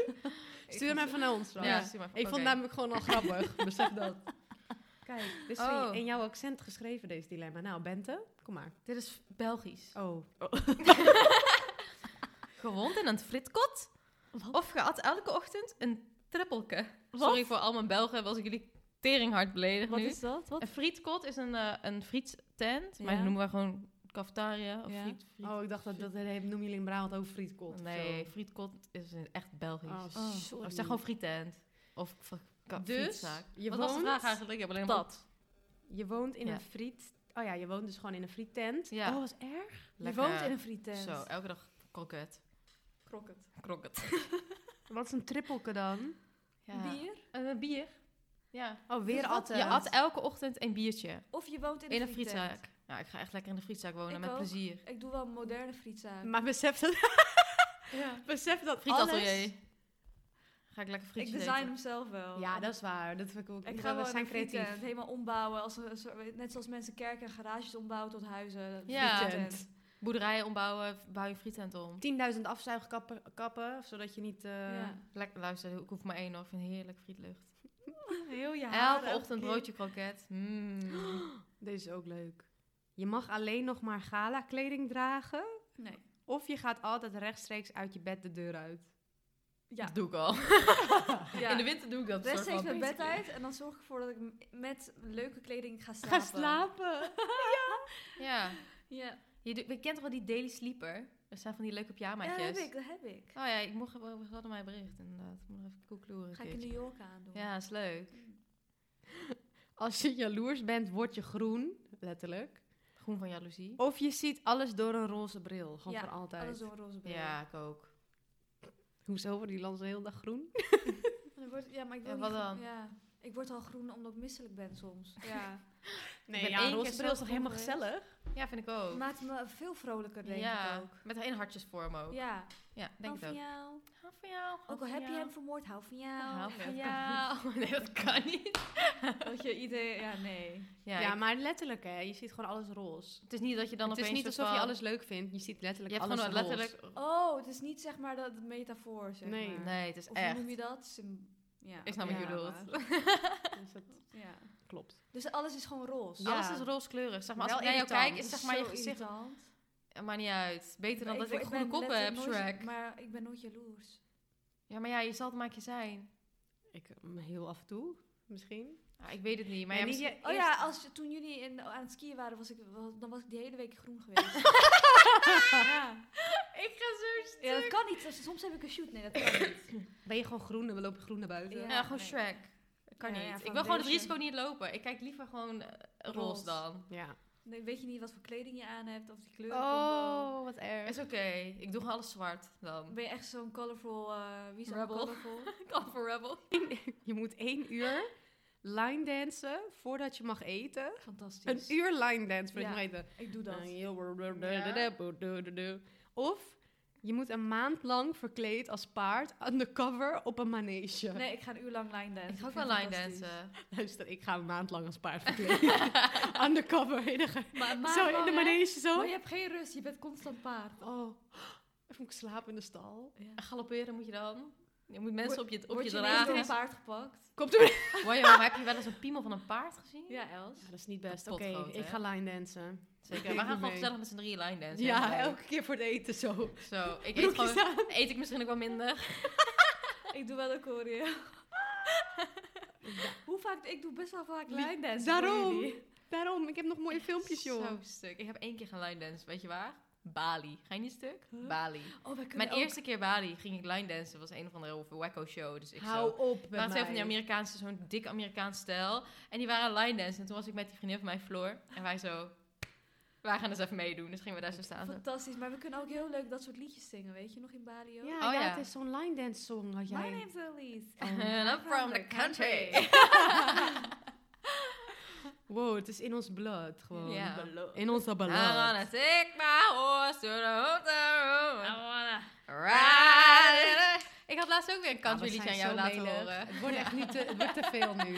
S2: Stuur hem even naar ons. Ram.
S3: Ja, stuur maar even.
S2: Ik vond
S3: Oké.
S2: het namelijk gewoon al grappig. Besef dat.
S4: Kijk,
S2: Dus
S3: Oh.
S2: in jouw accent geschreven, deze dilemma. Nou, Bente, kom maar.
S3: Dit is Belgisch.
S2: Oh.
S3: Gewond in een fritkot?
S4: Wat?
S3: Of geat elke ochtend een trippelke? Sorry voor al mijn Belgen, was ik jullie teringhard beledigd
S4: wat
S3: nu.
S4: is dat? Wat?
S3: Een frietkot is een, eh een friettent, maar
S4: Ja.
S3: die noemen we gewoon cafetaria of
S4: Ja.
S3: friet. friet-
S2: Oh, ik dacht dat, dat noemen jullie in Brabant ook frietkot. of
S3: Nee,
S2: zo.
S3: frietkot is een- echt Belgisch.
S2: Oh,
S4: Oh.
S2: sorry.
S3: Of zeg gewoon frietent. Of fr- ka-
S2: Dus,
S3: frietzaak.
S2: je
S3: Wat was de
S2: woont-
S3: vraag eigenlijk? Ik heb alleen maar-
S4: Dat.
S2: Je woont in
S3: Ja.
S2: een friet... Oh ja, je woont dus gewoon in een friettent.
S3: Ja.
S2: Oh, was erg.
S3: Lekker.
S4: Je woont in een frietent.
S3: Zo, elke dag kroket.
S4: Krokket.
S3: Kroket.
S2: Wat is een trippelke dan?
S4: Bier?
S3: Een bier. Ja.
S2: Oh, weer
S4: Dus wat-
S2: atten.
S3: Je at elke ochtend een biertje.
S4: Of je woont in,
S3: In
S4: een
S3: een
S4: frietent.
S3: frietzaak. Ja, ik ga echt lekker in de frietzaak wonen,
S4: Ik
S3: met
S4: ook.
S3: plezier.
S4: Ik doe wel een moderne frietzaak.
S2: Maar besef dat,
S4: ja.
S2: besef dat alles...
S3: Frietatelier. Ga ik lekker
S4: Ik
S3: frietjes
S4: design
S3: eten.
S4: hem zelf wel.
S3: Oh.
S2: Ja, dat is waar. Dat vind ik ook.
S4: Ik ga
S2: we
S4: wel
S2: zijn
S4: zijn
S2: creatief.
S4: frietent helemaal ombouwen. Als een soort- net zoals mensen kerken en garages ombouwen tot huizen.
S3: Ja.
S4: Frietent.
S3: Boerderijen ombouwen, bouw je frietent om.
S2: 10.000 afzuigkappen, kappen, zodat je niet... eh,
S4: Ja.
S3: Lekker, luister, ik hoef maar één hoor. Ik vind heerlijk frietlucht.
S4: Heel je haren
S3: Elke ochtend
S4: keer.
S3: broodje kroket. Mm.
S2: Deze is ook leuk. Je mag alleen nog maar gala-kleding dragen.
S4: Nee.
S2: Of je gaat altijd rechtstreeks uit je bed de deur uit.
S4: Ja.
S3: Dat doe ik al.
S4: Ja.
S3: In de winter doe ik dat. soort
S4: Rechtstreeks
S3: van
S4: mijn bed
S3: basically.
S4: uit en dan zorg ik ervoor dat ik m- met leuke kleding ga slapen.
S2: slapen.
S3: Ja.
S4: Ja.
S3: Je, doet- je kent toch wel die Daily Sleeper? Er zijn van die leuke pyjamaatjes.
S4: Ja, dat heb ik, dat heb ik.
S3: Oh ja, ik mocht, we hadden mij bericht inderdaad. Ik moet nog even koekloeren.
S4: Ga ik in New York aandoen.
S3: Ja, is leuk.
S2: Als je jaloers bent, word je groen, letterlijk.
S3: Groen van jaloezie.
S2: Of je ziet alles door een roze bril, gewoon
S4: Ja,
S2: voor altijd.
S4: Alles door een roze bril.
S3: Ja, ik ook.
S2: Hoezo worden die landen de hele dag groen?
S4: En dan word- ja, maar ik wil
S3: Ja,
S4: niet
S3: wat
S4: groen-
S3: dan?
S4: Ja. Ik word al groen omdat ik misselijk ben soms. Ja.
S3: Nee, ja, roze bril
S4: is toch helemaal gezellig?
S3: Ja, vind ik ook.
S4: Maakt me veel vrolijker, denk
S3: ja,
S4: ik ook.
S3: met een hartjesvorm ook. Ja,
S4: Ja.
S3: denk ik
S4: hou van
S3: ook.
S4: jou.
S3: Hou van jou. hou
S4: Ook al
S3: van
S4: heb je
S3: jou.
S4: hem vermoord, hou van jou.
S3: Hou van
S4: Ja.
S3: jou. Nee, dat kan niet.
S4: Dat je idee... Ja, nee.
S3: Ja,
S2: Ja,
S3: ik-
S2: maar letterlijk hè, je ziet gewoon alles roze.
S3: het is niet dat je dan
S2: het
S3: opeens...
S2: is niet
S3: soort
S2: alsof je
S3: van-
S2: alles leuk vindt, je ziet
S3: Je
S2: letterlijk
S3: hebt
S2: alles
S3: gewoon
S2: roze.
S3: letterlijk...
S4: Oh, het is niet zeg maar dat dat metafoor, zeg
S2: Nee.
S4: maar.
S3: Nee, het is
S4: Of hoe
S3: echt...
S4: noem je dat? Sym- ja.
S3: Ik snap
S2: wat
S4: ja,
S3: je bedoelt.
S4: maar-
S2: Dus dat
S4: Ja.
S2: klopt.
S4: Dus alles is gewoon roze.
S2: Ja.
S3: Alles is rooskleurig. Zeg maar, als
S2: Wel
S3: ik naar jou
S2: irritant.
S3: kijk, is
S4: Dat
S3: zeg maar je
S4: zo
S3: gezicht...
S4: irritant.
S3: Eh, Maakt niet uit. Beter dan
S4: Maar
S3: dat ik,
S4: word-
S3: groene
S4: ben
S3: koppen heb,
S4: letterlijk nooit-
S3: Shrek.
S4: Maar ik ben nooit jaloers.
S3: Ja, maar ja, je zal het maakje zijn.
S2: Ik eh, heel af en toe, misschien.
S3: Ah, ik weet het niet, maar ja,
S2: Nee, niet
S3: misschien-
S4: Oh
S3: eerst-
S4: ja, als, je- toen jullie in, aan het skiën waren, was ik, wel- dan was ik die hele week groen geweest. ja.
S3: Ik ga zo stuk.
S4: ja, dat kan niet. Dus Soms heb ik een shoot. Nee, dat kan niet.
S2: Ben je gewoon groen en we lopen groen naar buiten?
S4: Ja.
S3: Ja, gewoon
S4: nee.
S3: Shrek. Kan
S4: Ja,
S3: niet.
S4: ja,
S3: ik wil gewoon het
S4: foundation.
S3: risico niet lopen. Ik kijk liever gewoon eh, roze
S4: Roze.
S3: dan.
S2: Ja. Oh,
S4: Nee, weet je niet wat voor kleding je aan hebt of die kleur.
S2: wat
S3: Is
S2: erg.
S3: oké. Ik doe gewoon alles zwart dan.
S4: Ben je echt zo'n colorful... eh wie is dat?
S3: Rebel.
S4: Colorful?
S3: Ik al voor Rebel.
S2: Je moet één uur line dansen voordat je mag eten. Een
S4: Fantastisch.
S2: uur line dance voordat
S4: Ja.
S2: je mag eten.
S4: Ik doe
S3: Nou,
S4: dat.
S2: Of je moet een maand lang verkleed als paard undercover op een manege.
S4: Nee, ik ga een uur lang line dansen.
S3: Ik ga ook
S4: vind
S3: wel line
S4: het fantastisch.
S3: dansen.
S2: Luister, ik ga een maand lang als paard verkleed. undercover. in de-
S4: Maar, maar,
S2: zo in de manege
S4: Maar
S2: zo.
S4: je hebt geen rust. Je bent constant paard.
S2: Oh, even moet ik slapen in de stal.
S4: Ja.
S3: En galopperen moet je dan. Je moet mensen op je, op
S4: Word
S3: je
S4: je ineens door een
S3: dragen.
S4: paard gepakt?
S2: Komt er
S3: Wow, joh, maar heb je wel eens een piemel van een paard gezien?
S4: Ja, Els.
S2: dat is niet best. Oké,
S3: Kapot groot,
S2: ik
S3: hè?
S2: ga line dansen.
S3: Zeker.
S2: Ik
S3: We gaan
S2: doe
S3: gewoon
S2: mee.
S3: gezellig met z'n drie line dansen.
S2: Ja,
S3: Leuk.
S2: elke keer voor het eten zo.
S3: Zo, ik eet
S2: Broekjes
S3: gewoon...
S2: aan.
S3: Eet ik misschien ook wel minder.
S4: Ik doe wel een choreo. Hoe vaak? Ik doe best wel vaak
S2: Wie-
S4: line dansen.
S2: Daarom.
S4: voor jullie.
S2: Daarom, ik heb nog mooie filmpjes, joh.
S3: Zo stuk. Ik heb één keer gaan line dansen. Weet je waar? Bali. Ga je niet stuk?
S4: Huh?
S3: Bali.
S4: Oh, wij kunnen
S3: Mijn
S4: ook-
S3: eerste keer Bali ging ik line dansen. was een of andere wacko show. Dus ik zo...
S2: op met
S3: Er waren twee van die Amerikaanse, zo'n dik Amerikaans stijl. En die waren line dansen. En toen was ik met die vriendin van mij, Floor. En wij zo... Wij gaan dus even meedoen. Dus gingen we daar zo staan. zo.
S4: Fantastisch, maar we kunnen ook heel leuk dat soort liedjes zingen, weet je, nog in Bali ook.
S2: Ja,
S3: Oh,
S2: ja,
S3: ja.
S2: het is zo'n line dance song had
S4: My
S2: jij.
S4: name's Elise.
S3: And I'm from the country.
S2: Wow, het is in ons bloed gewoon.
S3: Ja. Nou,
S2: In onze
S3: I
S2: bloed.
S3: wanna take my horse to the hotel room. Ride Ah, it. Ik had laatst ook weer
S2: Nou,
S3: een country liedje aan jou laten horen.
S2: Het wordt echt niet te, het wordt te veel nu.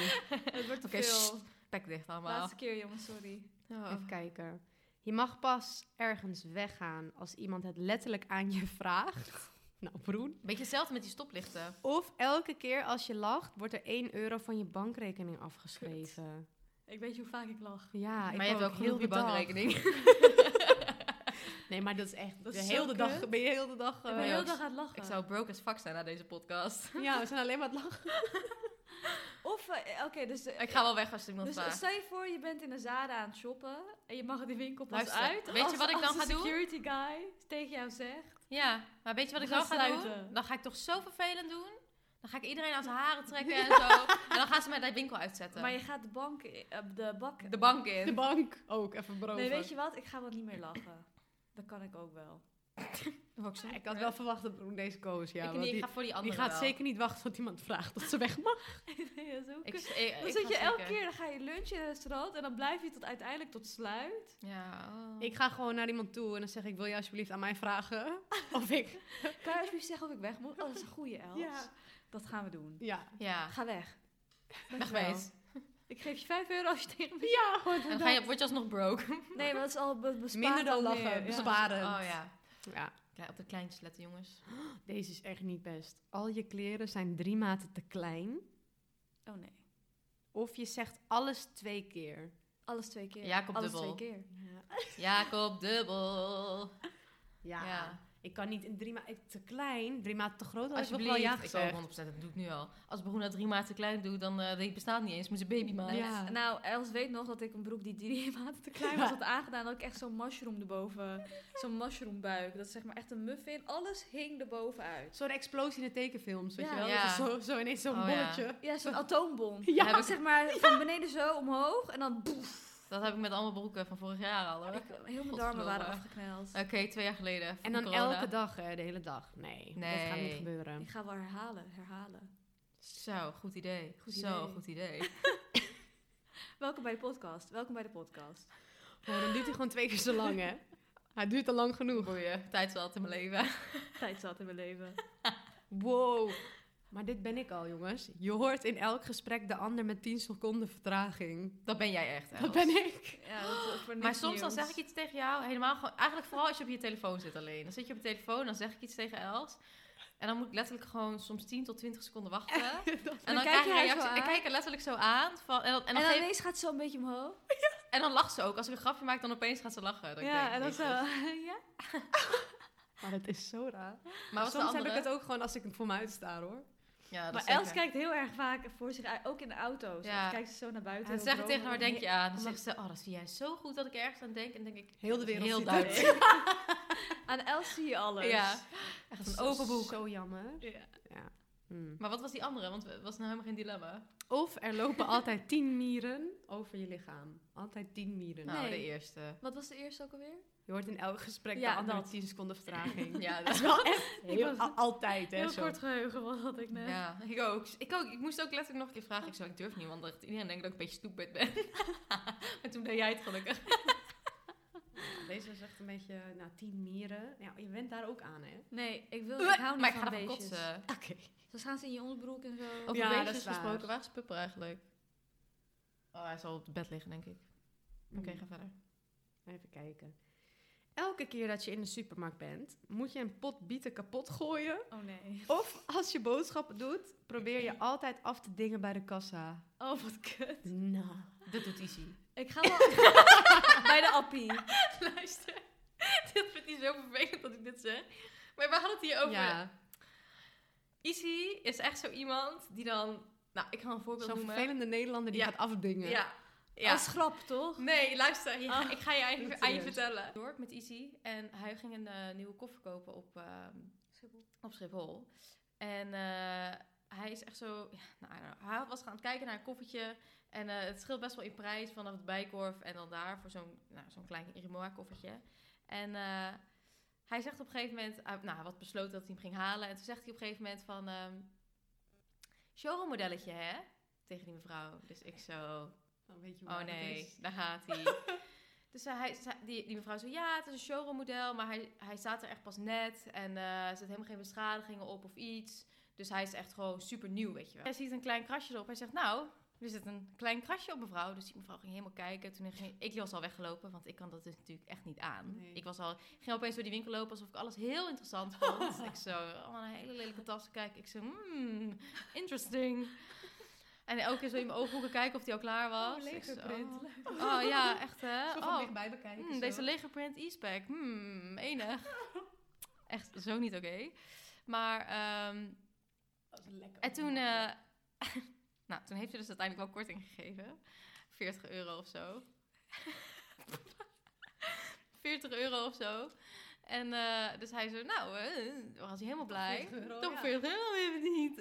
S4: Het wordt te
S3: Oké,
S4: veel.
S3: Pek dicht allemaal.
S4: Laatste keer, jongens, sorry.
S3: Oh.
S2: Even kijken. Je mag pas ergens weggaan als iemand het letterlijk aan je vraagt. Nou, broen.
S3: Beetje hetzelfde met die stoplichten.
S2: Of elke keer als je lacht, wordt er 1 euro van je bankrekening afgeschreven.
S4: Ik weet je hoe vaak ik lach.
S2: Ja, ik
S3: maar je hebt
S2: ook
S3: ook genoeg op je
S2: de dag.
S3: bankrekening.
S2: Nee, maar dat is echt.
S4: Dat
S2: de
S4: is
S2: hele
S4: zo
S2: dag
S4: kut.
S2: ben je heel de dag.
S4: ik
S2: eh,
S4: ben heel
S3: ja,
S4: de dag aan het lachen.
S3: Ik zou broke as fuck zijn na deze podcast.
S2: ja, we zijn alleen maar aan het lachen.
S4: Of, eh, oké, dus... eh,
S3: Ik ga wel weg als het iemand
S4: Dus
S3: vraagt.
S4: stel je voor, je bent in een Zara aan het shoppen en je mag die winkel pas
S3: Luister,
S4: uit.
S3: weet je
S4: als-
S3: wat ik dan
S4: als de
S3: ga doen?
S4: security guy tegen jou zegt.
S3: Ja, maar weet je wat ik
S4: We
S3: dan
S4: gaan
S3: ga doen?
S4: sluiten.
S3: Dan ga ik toch zo vervelend doen. Dan ga ik iedereen aan zijn haren trekken en zo. En dan gaan ze mij de winkel uitzetten.
S4: Maar je gaat de bank, i- eh, de bak...
S3: De bank
S2: De
S3: in.
S2: bank ook even brood.
S4: nee, weet je wat? Ik ga wel niet meer lachen. Dat kan ik ook wel.
S2: Ik had wel verwacht dat Broen deze koos. Ja,
S3: ik,
S2: want
S3: niet, ik
S2: die,
S3: ga voor die
S2: die
S3: andere
S2: gaat
S3: wel.
S2: zeker niet wachten tot iemand vraagt dat ze weg mag.
S4: nee, dat is ook
S3: Ik,
S4: kut.
S3: ik, ik
S4: Dan
S3: ga
S4: zit je elke
S3: zeker.
S4: keer, dan ga je lunchen in een restaurant en dan blijf je tot uiteindelijk tot sluit.
S3: Ja. oh.
S2: Ik ga gewoon naar iemand toe en dan zeg ik: Wil je alsjeblieft aan mij vragen? Of ik.
S4: Kan je alsjeblieft zeggen of ik weg moet? Oh, dat is een goeie, Els.
S2: Ja.
S4: Dat gaan we doen.
S2: Ja.
S3: Ja.
S4: Ga weg.
S3: Wegwees.
S4: Ik geef je 5 euro als je tegen me...
S2: Ja, gewoon.
S3: En dan ga je, word je alsnog broke.
S4: Nee, maar dat is al be- bespaard
S2: Minder dan
S4: al
S2: lachen,
S4: meer, ja.
S2: besparend.
S3: Oh ja.
S2: Ja,
S3: Kle- op de kleintjes letten, jongens.
S2: deze is echt niet best. Al je kleren zijn drie maten te klein.
S4: Oh nee.
S2: Of je zegt alles twee keer.
S4: Alles twee keer.
S3: Jacob
S4: Alles
S3: dubbel.
S4: twee keer.
S2: Ja.
S3: Jacob Dubbel. Ja.
S2: ja. Ik kan niet in drie maanden te klein, drie maanden te groot. had ik nog wel
S3: Alsjeblieft,
S2: ja
S3: ik zal
S2: gezegd.
S3: 100%, dat doe ik nu al. Als Bruna drie maanden te klein doet, dan eh, die bestaat niet eens, maar ze baby maakt.
S2: Ja.
S4: Nou, Els weet nog dat ik een broek die drie maanden te klein was had aangedaan. Dat ik echt zo'n mushroom erboven. Zo'n mushroombuik. Dat is zeg maar echt een muffin. Alles hing erboven uit.
S2: Zo'n explosie in de tekenfilms, weet
S4: Ja.
S2: je wel?
S3: Ja.
S2: Dat is zo, zo ineens zo'n
S3: Oh, ja.
S2: bolletje.
S4: Ja, zo'n atoombom.
S2: Ja.
S4: Heb ik zeg maar van beneden zo omhoog. En dan boef.
S3: Dat heb ik met allemaal broeken van vorig jaar al hoor.
S4: Ik, heel mijn darmen
S3: Godverdomme.
S4: waren afgekneld.
S3: Oké, twee jaar geleden.
S2: En dan
S3: corona.
S2: elke dag, hè, de hele dag. Nee, dat gaat niet
S3: Nee.
S2: gebeuren.
S4: Ik ga wel herhalen, herhalen.
S3: Zo, goed idee.
S4: Goed
S3: Zo,
S4: idee.
S3: goed idee.
S4: Welkom bij de podcast. Welkom bij de podcast.
S2: Oh, dan duurt hij gewoon twee keer zo lang, hè? Hij duurt al lang genoeg.
S3: Boeien, tijd zat in mijn leven.
S4: Tijd zat in mijn leven.
S2: Wow. Maar dit ben ik al, jongens. Je hoort in elk gesprek de ander met 10 seconden vertraging.
S3: Dat ben jij echt, Els.
S2: Dat ben ik.
S4: Ja, dat is voor
S3: Maar
S4: niks
S3: soms dan
S4: nieuws.
S3: zeg ik iets tegen jou, helemaal gewoon, eigenlijk vooral als je op je telefoon zit alleen. Dan zit je op je telefoon, dan zeg ik iets tegen Els. En dan moet ik letterlijk gewoon soms 10 tot 20 seconden wachten. en dan
S4: kijk
S3: krijg ik
S4: je haar
S3: een
S4: zo
S3: reactie. Ik
S4: aan.
S3: kijk er letterlijk zo aan. Van, en, dan, en,
S4: En
S3: dan
S4: dan
S3: geef-
S4: ineens gaat ze zo een beetje omhoog.
S3: en dan lacht ze ook. Als ik een grapje maak, dan opeens gaat ze lachen. Dan denk
S4: Ja,
S3: ik,
S4: en dan zo.
S3: jezus.
S4: ja?
S2: Maar dat is zo raar.
S3: Maar wat is de
S2: Soms heb
S3: andere?
S2: ik het ook gewoon als ik voor me uitsta, hoor.
S3: Ja, dat
S4: Maar
S3: zeker.
S4: Els kijkt heel erg vaak voor zich uit, ook in de auto's.
S3: Ja.
S4: Dan kijkt ze zo naar
S3: En
S4: buiten.
S3: dan
S4: op
S3: zeg ik
S4: de
S3: tegen haar,
S4: road.
S3: waar denk je aan? Dan zegt ze, oh, dat zie jij zo goed dat ik ergens aan denk. En dan denk ik,
S2: Heel de
S3: dat is
S2: wereld
S3: heel
S2: ziet
S3: duidelijk.
S2: het.
S4: Aan Els zie je alles.
S3: Ja, echt een
S2: Zo-
S3: open boek.
S2: Zo jammer.
S4: Ja.
S2: Hmm.
S3: Maar wat was die andere? Want het was nou helemaal geen dilemma.
S2: Of er lopen altijd 10 mieren over je lichaam. Altijd 10 mieren.
S3: Nou,
S4: Nee.
S3: de eerste.
S4: Wat was de eerste ook alweer?
S2: Je hoort in elk gesprek
S4: Ja,
S2: de ander
S4: dat.
S2: met 10 seconden vertraging.
S3: Ja, dat
S2: Heel-
S4: was-
S2: al- altijd, hè? zo.
S4: geheugen wat had ik
S3: Ja, ik ook. ik ook. Ik moest ook letterlijk nog een keer vragen. Ik zou ik durf niet, want dat- iedereen denkt dat ik een beetje stupid ben. maar toen deed jij het gelukkig.
S2: Deze is echt een beetje, nou, 10 mieren. Ja, je went daar ook aan, hè?
S4: Nee, ik wil ik hou niet
S3: Uh, maar ik
S4: van
S3: ga ervan
S4: beestjes.
S3: kotsen.
S2: Oké.
S4: Dus gaan ze in je onderbroek en zo.
S3: Over
S2: Ja, dat
S3: beestjes
S2: is waar.
S3: gesproken, waar is Pupper eigenlijk? Oh, hij zal op het bed liggen, denk ik. Oké, ga verder.
S2: Even kijken. Elke keer dat je in de supermarkt bent, moet je een pot bieten kapot gooien.
S4: Oh nee.
S2: Of als je boodschappen doet, probeer je altijd af te dingen bij de kassa.
S4: Oh, wat kut.
S2: Nou.
S3: Dat doet Izzy.
S4: Ik ga wel bij de appie.
S3: Luister, dit vindt hij zo vervelend dat ik dit zeg. Maar we hadden het hier over.
S2: Ja,
S3: Izzy is echt zo iemand die dan... Nou, ik ga een voorbeeld
S2: zo'n
S3: noemen.
S2: vervelende Nederlander die
S3: Ja.
S2: gaat afdingen.
S3: Ja. ja.
S4: Als grap, toch?
S3: Nee, luister. ja,
S4: Ah,
S3: ik ga je eigenlijk aan je
S2: serieus.
S3: vertellen. Dorp met Izzy. En hij ging een eh, nieuwe koffer kopen op, ehm, op Schiphol. En eh, hij is echt zo... Ja, nou, I don't know. hij was gaan kijken naar een koffertje. En eh, het scheelt best wel in prijs vanaf de Bijkorf. En dan daar voor zo'n nou, zo'n klein Irimoa koffertje. En eh, hij zegt op een gegeven moment... hij- nou, hij had besloten dat hij hem ging halen. En toen zegt hij op een gegeven moment van... ehm showroom modelletje, hè? Tegen die mevrouw. Dus ik zo...
S2: Dan weet je hoe
S3: Oh
S2: laat het
S3: nee,
S2: is.
S3: daar gaat hij. dus eh, hij, ze- die, die mevrouw zei, ja, het is een showroom model, maar hij, hij staat er echt pas net en eh, er zit helemaal geen beschadigingen op of iets. Dus hij is echt gewoon super nieuw, weet je wel. Hij ziet een klein krasje erop. Hij zegt, nou, er zit een klein krasje op mevrouw. Dus die mevrouw ging helemaal kijken. Toen ging, ik was al weggelopen, want ik kan dat dus natuurlijk echt niet aan.
S2: Nee.
S3: Ik was al, ging opeens door die winkel lopen alsof ik alles heel interessant vond. ik zo, oh, een hele lelijke tas. Kijk, ik zo, hmm, interesting. En elke keer zo in mijn ooghoeken kijken of die al klaar was.
S2: Oh,
S3: Ik zo,
S2: legerprint.
S3: Oh ja, echt hè?
S2: Zo van
S3: Oh,
S2: dichtbij dus bekijken.
S3: hmm,
S2: zo.
S3: deze legerprint e-spec. Hmm, enig. Echt zo niet oké. Maar, ehm,
S2: Dat is lekker.
S3: en toen, eh, nou, toen heeft hij dus uiteindelijk wel korting gegeven. 40 euro of zo. 40 euro of zo. En eh, dus hij zo, nou, eh, was hij helemaal blij.
S2: 40 euro,
S3: Toch
S2: ja.
S3: 40 euro even niet.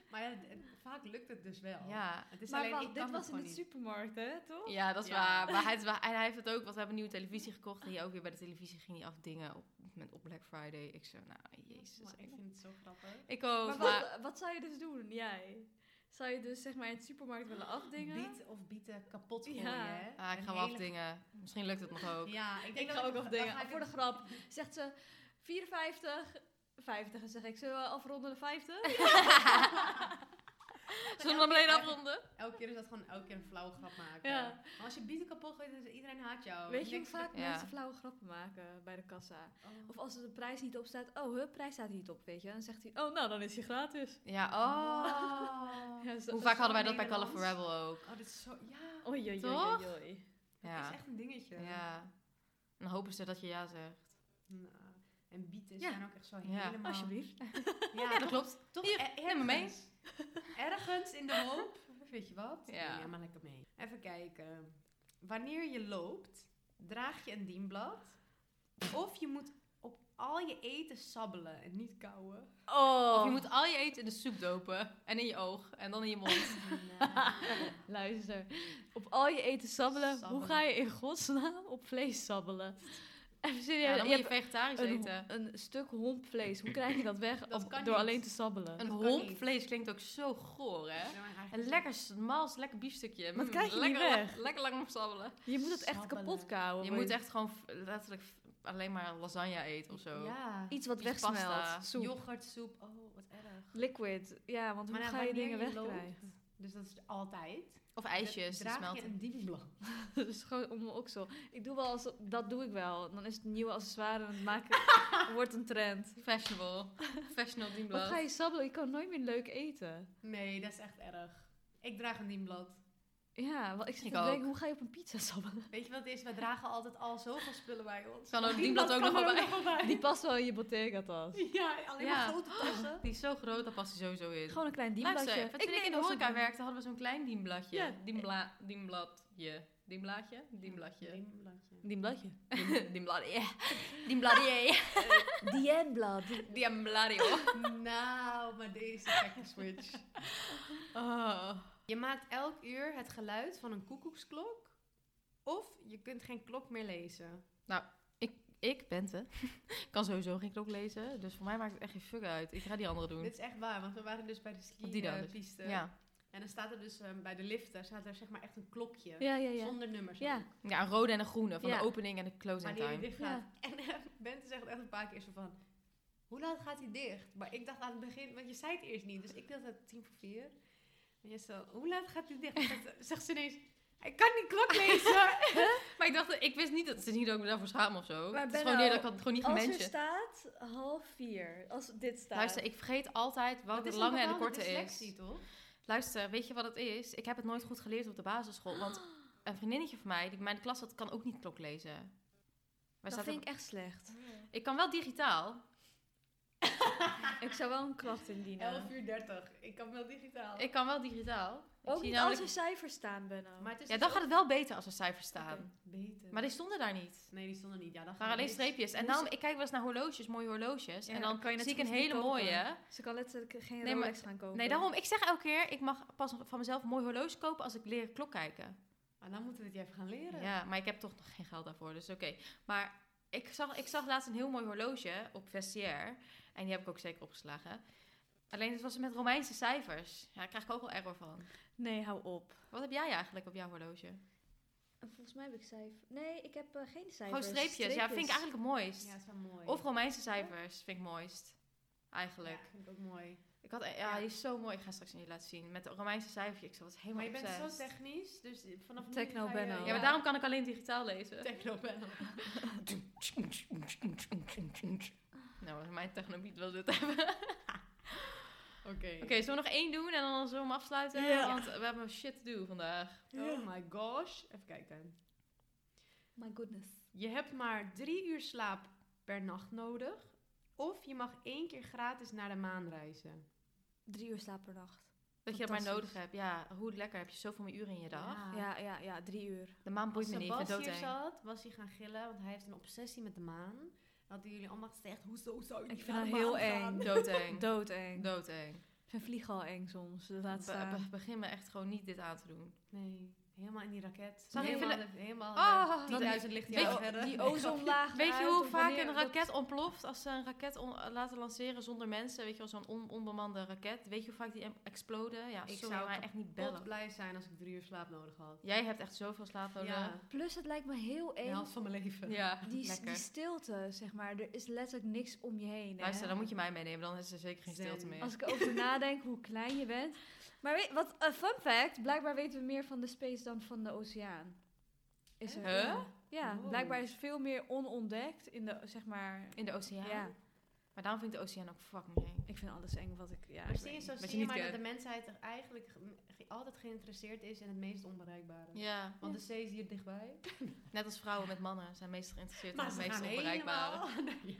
S2: Maar ja, d- vaak lukt het dus wel.
S3: Ja.
S2: Het is
S4: Maar
S2: alleen,
S4: wacht,
S2: ik kan
S4: dit
S2: het
S4: was in
S2: gewoon
S4: de
S2: niet.
S4: supermarkt, hè, toch?
S3: Ja, dat is
S2: Oh. Ja.
S3: waar. Maar hij, is wa- en hij heeft het ook, want we hebben een nieuwe televisie gekocht. En hij ook weer bij de televisie ging hij afdingen op, met, op Black Friday. Ik zo, nou, jezus.
S2: Maar ik vind het zo grappig.
S3: Ik ook,
S4: Maar
S3: maar...
S4: wat, wat zou je dus doen, jij? Zou je dus zeg maar in de supermarkt willen afdingen?
S2: Biet of bieten kapot gooien,
S4: Ja.
S2: hè?
S3: Ah, ik
S2: Een
S3: ga wel
S2: hele-
S3: afdingen. Misschien lukt het nog ook.
S2: Ja, ik denk
S4: ik
S2: dat
S4: ga ook
S2: dan
S4: afdingen.
S2: ga ik
S4: voor de
S2: het-
S4: grap zegt ze 54, 50. En zeg ik, zullen we afronden de 50?
S3: Zullen we hem alleen afronden?
S2: Elke keer is dat gewoon elke keer een flauwe grap maken.
S4: Ja.
S2: Maar als je bieten kapot gooit, dan is iedereen haat jou.
S4: Weet je hoe
S2: Niks-
S4: vaak
S3: Ja.
S4: mensen flauwe grappen maken bij de kassa?
S2: Oh.
S4: Of als er de prijs niet op staat, oh, hun prijs staat niet op, weet je. Dan zegt hij, oh, nou, dan is hij gratis.
S3: Ja, oh.
S4: Ja, zo-
S3: Hoe vaak hadden wij
S2: zo
S3: dat bij Call of
S2: Nederlands.
S3: Rebel ook?
S2: Oh, dit is zo... Ja,
S4: Oei, oei, oei,
S3: Toch?
S4: oei, oei.
S2: dat is
S3: Ja.
S4: eh,
S2: echt een dingetje.
S3: ja. En dan hopen ze dat je ja zegt.
S2: Nou, en bieten
S3: Ja.
S2: zijn ook echt zo
S3: Ja.
S2: helemaal...
S4: Alsjeblieft.
S2: Ja,
S3: Ja, dat
S2: toch-
S3: klopt.
S2: Toch
S3: Hier,
S2: er-
S3: neem me mee.
S2: ergens- Ergens in de hoop, weet je wat?
S3: Ja.
S2: maar lekker mee. Even kijken. Wanneer je loopt, draag je een dienblad. Of je moet op al je eten sabbelen en niet kauwen.
S3: Of
S4: Oh.
S3: je moet al je eten in de soep dopen. En in je oog. En dan in je mond.
S4: Luister, op al je eten sabbelen,
S2: Sabbelen.
S4: hoe ga je in godsnaam op vlees sabbelen? Even serieus,
S3: Ja, dan
S4: je
S3: moet je
S4: hebt
S3: vegetarisch
S4: een,
S3: eten.
S4: een stuk hompvlees. Hoe krijg je dat weg
S2: Dat
S4: op-
S2: kan
S4: door
S2: niet.
S4: alleen te sabbelen?
S3: Een
S2: kan
S3: homp
S2: niet.
S3: vlees klinkt ook zo goor, hè?
S2: Ja, maar Nou, eigenlijk-
S3: Een lekker smal, lekker biefstukje.
S4: Dat
S3: Mm,
S4: krijg je niet
S3: lekker, lang-
S4: weg. Oh,
S3: lekker lang opsabbelen.
S4: je moet het echt
S2: sabbelen.
S4: kapot kauwen.
S3: Je
S4: maar
S3: moet echt gewoon f- letterlijk f- alleen maar lasagne eten of zo.
S2: Ja.
S4: iets wat
S3: iets pasta,
S4: wegsmelt. Soep.
S2: Yoghurtsoep, oh wat erg.
S4: Liquid. Ja, want hoe
S2: nou,
S4: ga je
S2: wanneer
S4: dingen
S2: loopt,
S4: wegkrijgen?
S2: Dus dat is altijd.
S3: Of ijsjes, die
S2: Draag je
S3: smelten.
S2: een dienblad.
S4: Dat is gewoon om mijn oksel. Ik doe wel als, dat doe ik wel. Dan is het een nieuwe accessoire en het maken wordt een trend.
S3: Fashionable. Fashionable
S4: Wat
S3: dienblad.
S4: ga je sabbelen? Je kan nooit meer leuk eten.
S2: Nee, dat is echt erg. Ik draag een dienblad.
S4: Ja, want ik zit
S3: Ik
S4: te denken,
S3: ook.
S4: hoe ga je op een pizza sabbelen?
S2: Weet je wat het is? We dragen altijd al zoveel spullen bij ons.
S3: Kan ook
S2: Een
S3: dienblad ook
S2: kan
S3: nog
S2: er
S3: wel
S2: nog wel bij.
S4: Die past wel in je bottega tas.
S2: Ja, alleen maar
S3: Ja.
S2: grote tassen.
S3: Die is zo groot, daar past hij sowieso in.
S4: Gewoon een klein dienbladje.
S3: Luister, toen ik,
S4: neem
S3: in de
S4: wel zo'n-
S3: horeca werkte, hadden we zo'n klein dienbladje.
S4: Ja.
S3: Dienbla, dienbladje. Dienbladje? Dienbladje.
S2: Dienbladje.
S3: Dienbladje. Dienbladje. Dienbladje.
S4: Dienblad.
S3: Dienbladje.
S2: Nou, maar deze gekke switch.
S3: Oh.
S2: Je maakt elk uur het geluid van een koekoeksklok. Of je kunt geen klok meer lezen.
S3: Ik, Bente, kan sowieso geen klok lezen. Dus voor mij maakt het echt geen fuck uit. Ik ga die andere doen.
S2: Dit eh, is echt waar, want we waren dus bij de
S3: Op die dan dus.
S2: ski-piste.
S3: Ja.
S2: En dan staat er dus ehm, bij de liften staat er zeg maar echt een klokje.
S4: Ja, ja, ja.
S2: Zonder nummers.
S4: Ja.
S2: ook.
S3: ja, een rode en een groene. Van
S4: Ja.
S3: de opening en de closing
S2: Wanneer die
S3: time.
S2: dicht gaat. En eh, Bente zegt echt een paar keer zo van... Hoe laat gaat hij dicht? Maar ik dacht aan het begin... Want je zei het eerst niet. Dus ik dacht het tien voor vier. En je zo... Hoe laat gaat hij dicht? En dan zegt ze ineens... Ik kan die klok lezen.
S3: Maar ik dacht, ik wist niet dat het is niet dat ik me daarvoor schaam of zo.
S4: Maar
S3: het is
S4: Benno,
S3: gewoon neer dat ik had het gewoon niet
S4: Als er
S3: gemanaged.
S4: staat half vier. Als dit staat.
S3: Luister, ik vergeet altijd wat
S2: Dat
S3: de
S2: is een
S3: lange en de
S2: bepaalde
S3: korte is.
S2: dyslexie, toch?
S3: Luister, weet je wat het is? Ik heb het nooit goed geleerd op de basisschool. Want een vriendinnetje van mij, die bij mij in de klas zat, kan ook niet klok lezen. Wij
S4: dat
S3: zaten
S4: vind
S3: op-
S4: ik echt slecht.
S3: ik kan wel digitaal.
S4: ik zou wel een kracht indienen.
S2: 11 uur 30. Ik kan wel digitaal.
S3: Ik kan wel digitaal. Ik
S4: Ook
S3: zie
S4: niet Oh,
S3: namelijk-
S4: als er cijfers staan, Benno.
S2: maar het is
S3: Ja,
S2: dus
S3: dan
S2: ook-
S3: gaat het wel beter als er cijfers staan.
S2: Oké, beter.
S3: Maar die stonden daar niet.
S2: Nee, die stonden niet. Ja, dan
S3: Er waren alleen streepjes. En daarom, ik kijk wel eens naar horloges, mooie horloges.
S4: Ja,
S3: en dan
S4: kan je net
S3: zie ik
S4: zo
S3: een
S4: goed niet
S3: hele
S4: kopen.
S3: mooie.
S4: Ze kan letterlijk geen
S3: Nee, maar-
S4: Rolex gaan kopen.
S3: Nee, daarom, ik zeg elke keer, ik mag pas van mezelf een mooi horloge kopen als ik leer klok kijken.
S2: Maar dan moeten we het je even gaan leren.
S3: Ja, maar ik heb toch nog geen geld daarvoor, dus oké. Maar ik zag, ik zag laatst een heel mooi horloge op Vestiaire. En die heb ik ook zeker opgeslagen. Alleen het was met Romeinse cijfers. Ja, daar krijg ik ook wel error van.
S4: Nee, hou op.
S3: Wat heb jij eigenlijk op jouw horloge?
S4: Volgens mij heb ik cijfers. Nee, ik heb eh, geen cijfers.
S3: Gewoon Oh, streepjes. Ja, vind ik eigenlijk het mooist.
S2: Ja, dat is wel mooi.
S3: of Romeinse cijfers vind ik mooist. Eigenlijk.
S2: Ja, vind ik ook mooi.
S3: Ik had, eh, ja, die is zo mooi. Ik ga straks aan je laten zien. Met de Romeinse cijfers. Ik zat helemaal
S2: Maar je bent zo
S3: obsessed.
S2: technisch, dus vanaf nu
S4: Techno
S2: ga je-
S4: Benno.
S3: Ja, maar daarom kan ik alleen digitaal lezen.
S2: Techno Benno.
S3: Nou, als mijn technobiet wil dit hebben.
S2: Oké.
S3: Oké, zullen we nog één doen en dan zullen we hem afsluiten? Want we hebben shit te doen vandaag.
S2: Oh my gosh. Even kijken.
S4: My goodness.
S2: Je hebt maar drie uur slaap per nacht nodig. Of je mag één keer gratis naar de maan reizen.
S4: Drie uur slaap per nacht.
S3: Dat je dat maar
S4: Fantastisch.
S3: nodig hebt. Ja, hoe lekker heb je zoveel meer uren in je dag?
S4: Ja, ja, ja, drie uur.
S3: De maan boeit
S2: Als
S3: me niet. Ik ben
S2: Sebas hier
S3: doodeng.
S2: zat, was hij gaan gillen, want hij heeft een obsessie met de maan. Dan hadden jullie allemaal gezegd, hoezo zou je
S4: Ik
S2: niet
S4: vind
S2: naar de
S4: dat heel
S2: maan gaan?
S4: eng.
S3: Doodeng.
S4: Doodeng.
S3: Doodeng.
S4: Ik vind vliegen al eng soms. dus Laat
S3: Be-
S4: staan.
S3: be- begin me echt gewoon niet dit aan te doen.
S2: Nee, helemaal in die raket.
S3: Zou ik
S2: helemaal,
S3: even
S2: helemaal
S3: Ah,
S2: eh, 10.000
S3: weet je-
S2: lichtjaren verder.
S4: Die
S2: Nee, grapje.
S4: ozonlaag.
S3: Weet je
S4: eruit,
S3: hoe
S4: of
S3: vaak
S4: wanneer
S3: een
S4: dat-
S3: raket ontploft als ze een raket on- laten lanceren zonder mensen? Weet je wel, zo'n on- onbemande raket. Weet je hoe vaak die em- exploden? Ja,
S2: Ik
S3: sorry,
S2: zou
S3: maar echt niet
S2: Bot
S3: bellen.
S2: blij zijn als ik drie uur slaap nodig had.
S3: Jij hebt echt zoveel slaap nodig.
S2: Ja,
S4: Plus het lijkt me heel
S2: de
S4: eng.
S2: helft van mijn leven.
S3: Ja,
S4: die,
S3: lekker.
S4: die stilte, zeg maar. Er is letterlijk niks om je heen. hè. Oh,
S3: Luister, dan moet je mij meenemen, dan is er zeker geen
S2: Zen.
S3: stilte meer.
S4: Als ik erover nadenk hoe klein je bent. Maar weet, wat een fun fact. Blijkbaar weten we meer van de space dan van de oceaan. Is er.
S3: Huh?
S4: Ja,
S2: Wow.
S4: blijkbaar is veel meer onontdekt in de, zeg maar...
S3: In de oceaan.
S4: Ja.
S3: Maar Maar daarom vind ik de oceaan ook fucking eng.
S4: Ik vind alles eng wat ik... Ja,
S2: Maar
S4: ik
S2: zie je,
S4: weet
S2: zo
S4: niet.
S3: je
S2: zie je
S3: niet
S2: maar dat
S3: kunt.
S2: de mensheid er eigenlijk ge- ge- altijd geïnteresseerd is in het meest onbereikbare.
S3: Ja,
S2: Want de zee is hier dichtbij.
S3: net als vrouwen met mannen zijn meestal geïnteresseerd in
S2: Maar
S3: het
S2: ze
S3: meest
S2: gaan
S3: onbereikbare.
S2: helemaal... Nee.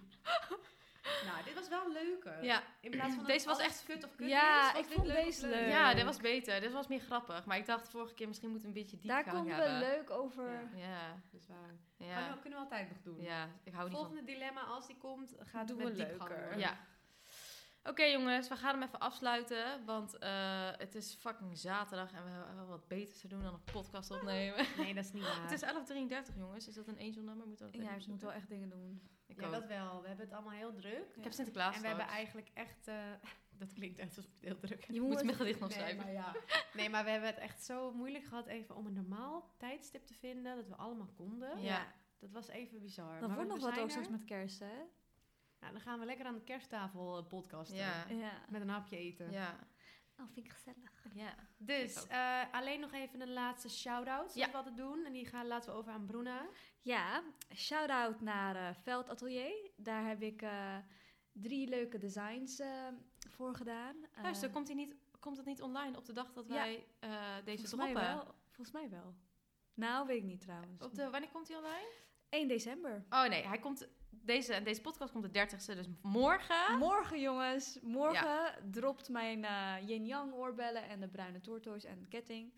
S2: nou, dit was wel een leuke.
S3: Ja.
S2: In plaats van
S3: Deze was
S2: alles
S3: echt-
S2: kut of kut
S4: Ja,
S2: is, was
S4: ik
S2: dit
S4: vond
S2: leuk of
S4: deze
S2: leuk.
S4: leuk.
S3: Ja, dit was beter. Dit was meer grappig. Maar ik dacht vorige keer misschien moet we een beetje diep
S4: Daar
S3: gaan
S4: komen we
S3: hebben.
S4: leuk over.
S2: Ja.
S3: Ja,
S2: Dat is waar. Maar
S3: ja,
S2: dat kunnen we altijd nog doen.
S3: ja. Ik hou niet van
S2: Volgende dilemma, als die komt, gaat
S4: Doen
S2: het met
S4: we
S2: diepgang
S4: leuker.
S2: worden.
S3: Ja. Oké jongens, we gaan hem even afsluiten, want eh, het is fucking zaterdag en we hebben wel wat beter te doen dan een podcast opnemen.
S2: Nee, dat is niet waar.
S3: Het is 11.33 jongens, is dat een angel nummer? Moeten we dat
S4: Ja,
S3: even
S4: ik moet
S3: zoeken?
S4: wel echt dingen doen.
S3: Ik,
S2: ja,
S3: ook.
S2: dat wel. We hebben het allemaal heel druk.
S3: ik heb Sinterklaas
S2: en we hebben
S3: straks.
S2: eigenlijk echt... eh, dat klinkt echt alsof ik het heel druk heb.
S4: Je
S3: moet mijn gedicht nog
S2: Nee
S3: schrijven.
S2: maar, ja. nee, maar we hebben het echt zo moeilijk gehad even om een normaal tijdstip te vinden. Dat we allemaal konden.
S3: Ja.
S2: Dat was even bizar.
S4: Dan
S2: maar
S4: wordt
S2: we
S4: nog wat
S2: zijn
S4: ook
S2: er.
S4: straks met kerst, hè?
S2: Nou, dan gaan we lekker aan de kersttafel eh, podcasten.
S3: Ja.
S4: Ja.
S2: Met een hapje eten.
S3: Ja.
S4: Oh, vind ik gezellig.
S3: ja. Ik
S2: Dus,
S3: ook.
S2: eh, alleen nog even een laatste shout-out.
S3: Ja.
S2: Die we altijd doen. En die gaan, laten we over aan Bruna.
S4: Ja, shout-out naar eh, Veld Atelier. Daar heb ik eh, drie leuke designs eh, voor gedaan. Eh,
S3: Luister, komt, hij niet, komt het niet online op de dag dat
S4: Ja.
S3: wij eh, deze
S4: volgens mij
S3: droppen?
S4: wel. Volgens mij wel. Nou, weet ik niet trouwens.
S3: Op de, wanneer komt hij online?
S4: 1 december.
S3: Oh nee, hij komt, deze, deze podcast komt de 30ste, dus morgen.
S4: Morgen, jongens. Morgen dropt mijn eh yin-yang oorbellen en de bruine tortoise en ketting.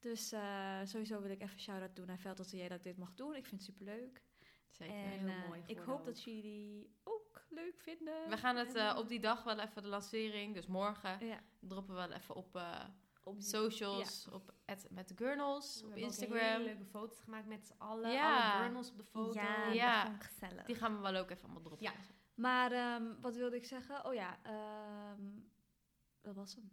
S4: Dus eh, sowieso wil ik even shout-out doen aan Veld Atelier dat ik dit mag doen. Ik vind het superleuk.
S3: Zeker.
S4: en
S2: heel
S4: eh,
S2: mooi
S4: ik
S2: geworden
S4: hoop dat
S2: ook.
S4: jullie die ook leuk vinden.
S3: We gaan het
S4: En,
S3: eh,
S4: eh,
S3: op die dag wel even de lancering, dus morgen
S4: Ja,
S3: droppen we wel even op eh,
S4: op
S3: socials, op @metthegurnals,
S2: We
S3: op
S2: hebben ook
S3: Instagram.
S2: hele leuke foto's gemaakt met z'n allen.
S3: Ja.
S2: Alle journals op de foto.
S4: Ja,
S3: Ja.
S4: dat vond ik gezellig.
S3: Die gaan we wel ook even allemaal droppen.
S2: Ja.
S4: Maar ehm, wat wilde ik zeggen? Oh ja, ehm, dat was hem.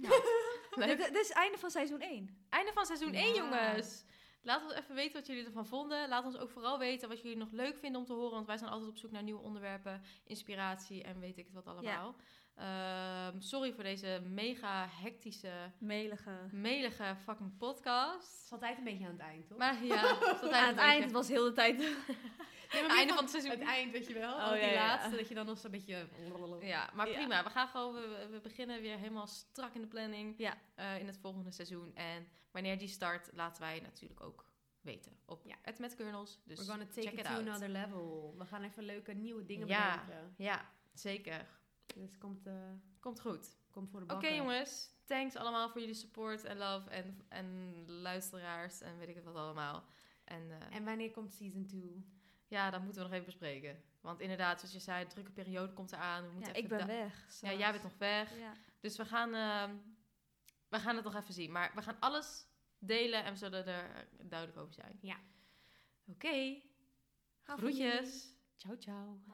S4: Nou. Dit,
S3: Leuk.
S4: dit is het einde van seizoen 1.
S3: Einde van seizoen 1,
S2: Ja.
S3: jongens. Laat ons even weten wat jullie ervan vonden. Laat ons ook vooral weten wat jullie nog leuk vinden om te horen. Want wij zijn altijd op zoek naar nieuwe onderwerpen, inspiratie en weet ik het wat allemaal. Ehm, sorry voor deze mega hectische,
S4: Melige.
S3: melige fucking podcast.
S2: Het is altijd een beetje aan het eind, toch?
S3: Maar ja, tot
S4: Aan het eind het was heel de tijd.
S2: Nee, maar
S3: het
S2: meer
S3: einde van het seizoen.
S2: Het eind, weet je wel.
S4: Oh,
S2: Oh, die
S4: ja, ja, ja.
S2: laatste, dat je dan nog zo'n beetje...
S3: Ja, maar
S4: Ja.
S3: prima. We gaan gewoon, we, we beginnen weer helemaal strak in de planning
S4: Ja.
S3: eh, in het volgende seizoen. En wanneer die start, laten wij natuurlijk ook weten op
S2: Ja.
S3: het met Kernels. Dus
S2: We're gonna take
S3: check
S2: it
S3: it
S2: to
S3: out.
S2: another level. We gaan even leuke nieuwe dingen
S3: Ja.
S2: bedenken.
S3: ja, zeker.
S2: Dus komt, eh,
S3: Komt goed.
S2: komt voor de
S3: Oké
S2: bakken.
S3: jongens, thanks allemaal voor jullie support en love en, en luisteraars en weet ik het wat allemaal. En eh,
S2: En wanneer komt season 2?
S3: ja, dat moeten we nog even bespreken. Want inderdaad, zoals je zei, de drukke periode komt eraan. We moeten
S4: Ja,
S3: even
S4: ik ben
S3: da-
S4: weg.
S3: Ja,
S4: straks.
S3: jij bent nog weg.
S4: Ja.
S3: Dus we gaan, ehm, we gaan het nog even zien. Maar we gaan alles delen en we zullen er duidelijk over zijn.
S2: Ja.
S3: Oké,
S4: Hou van jullie.
S3: groetjes.
S2: Ciao, ciao.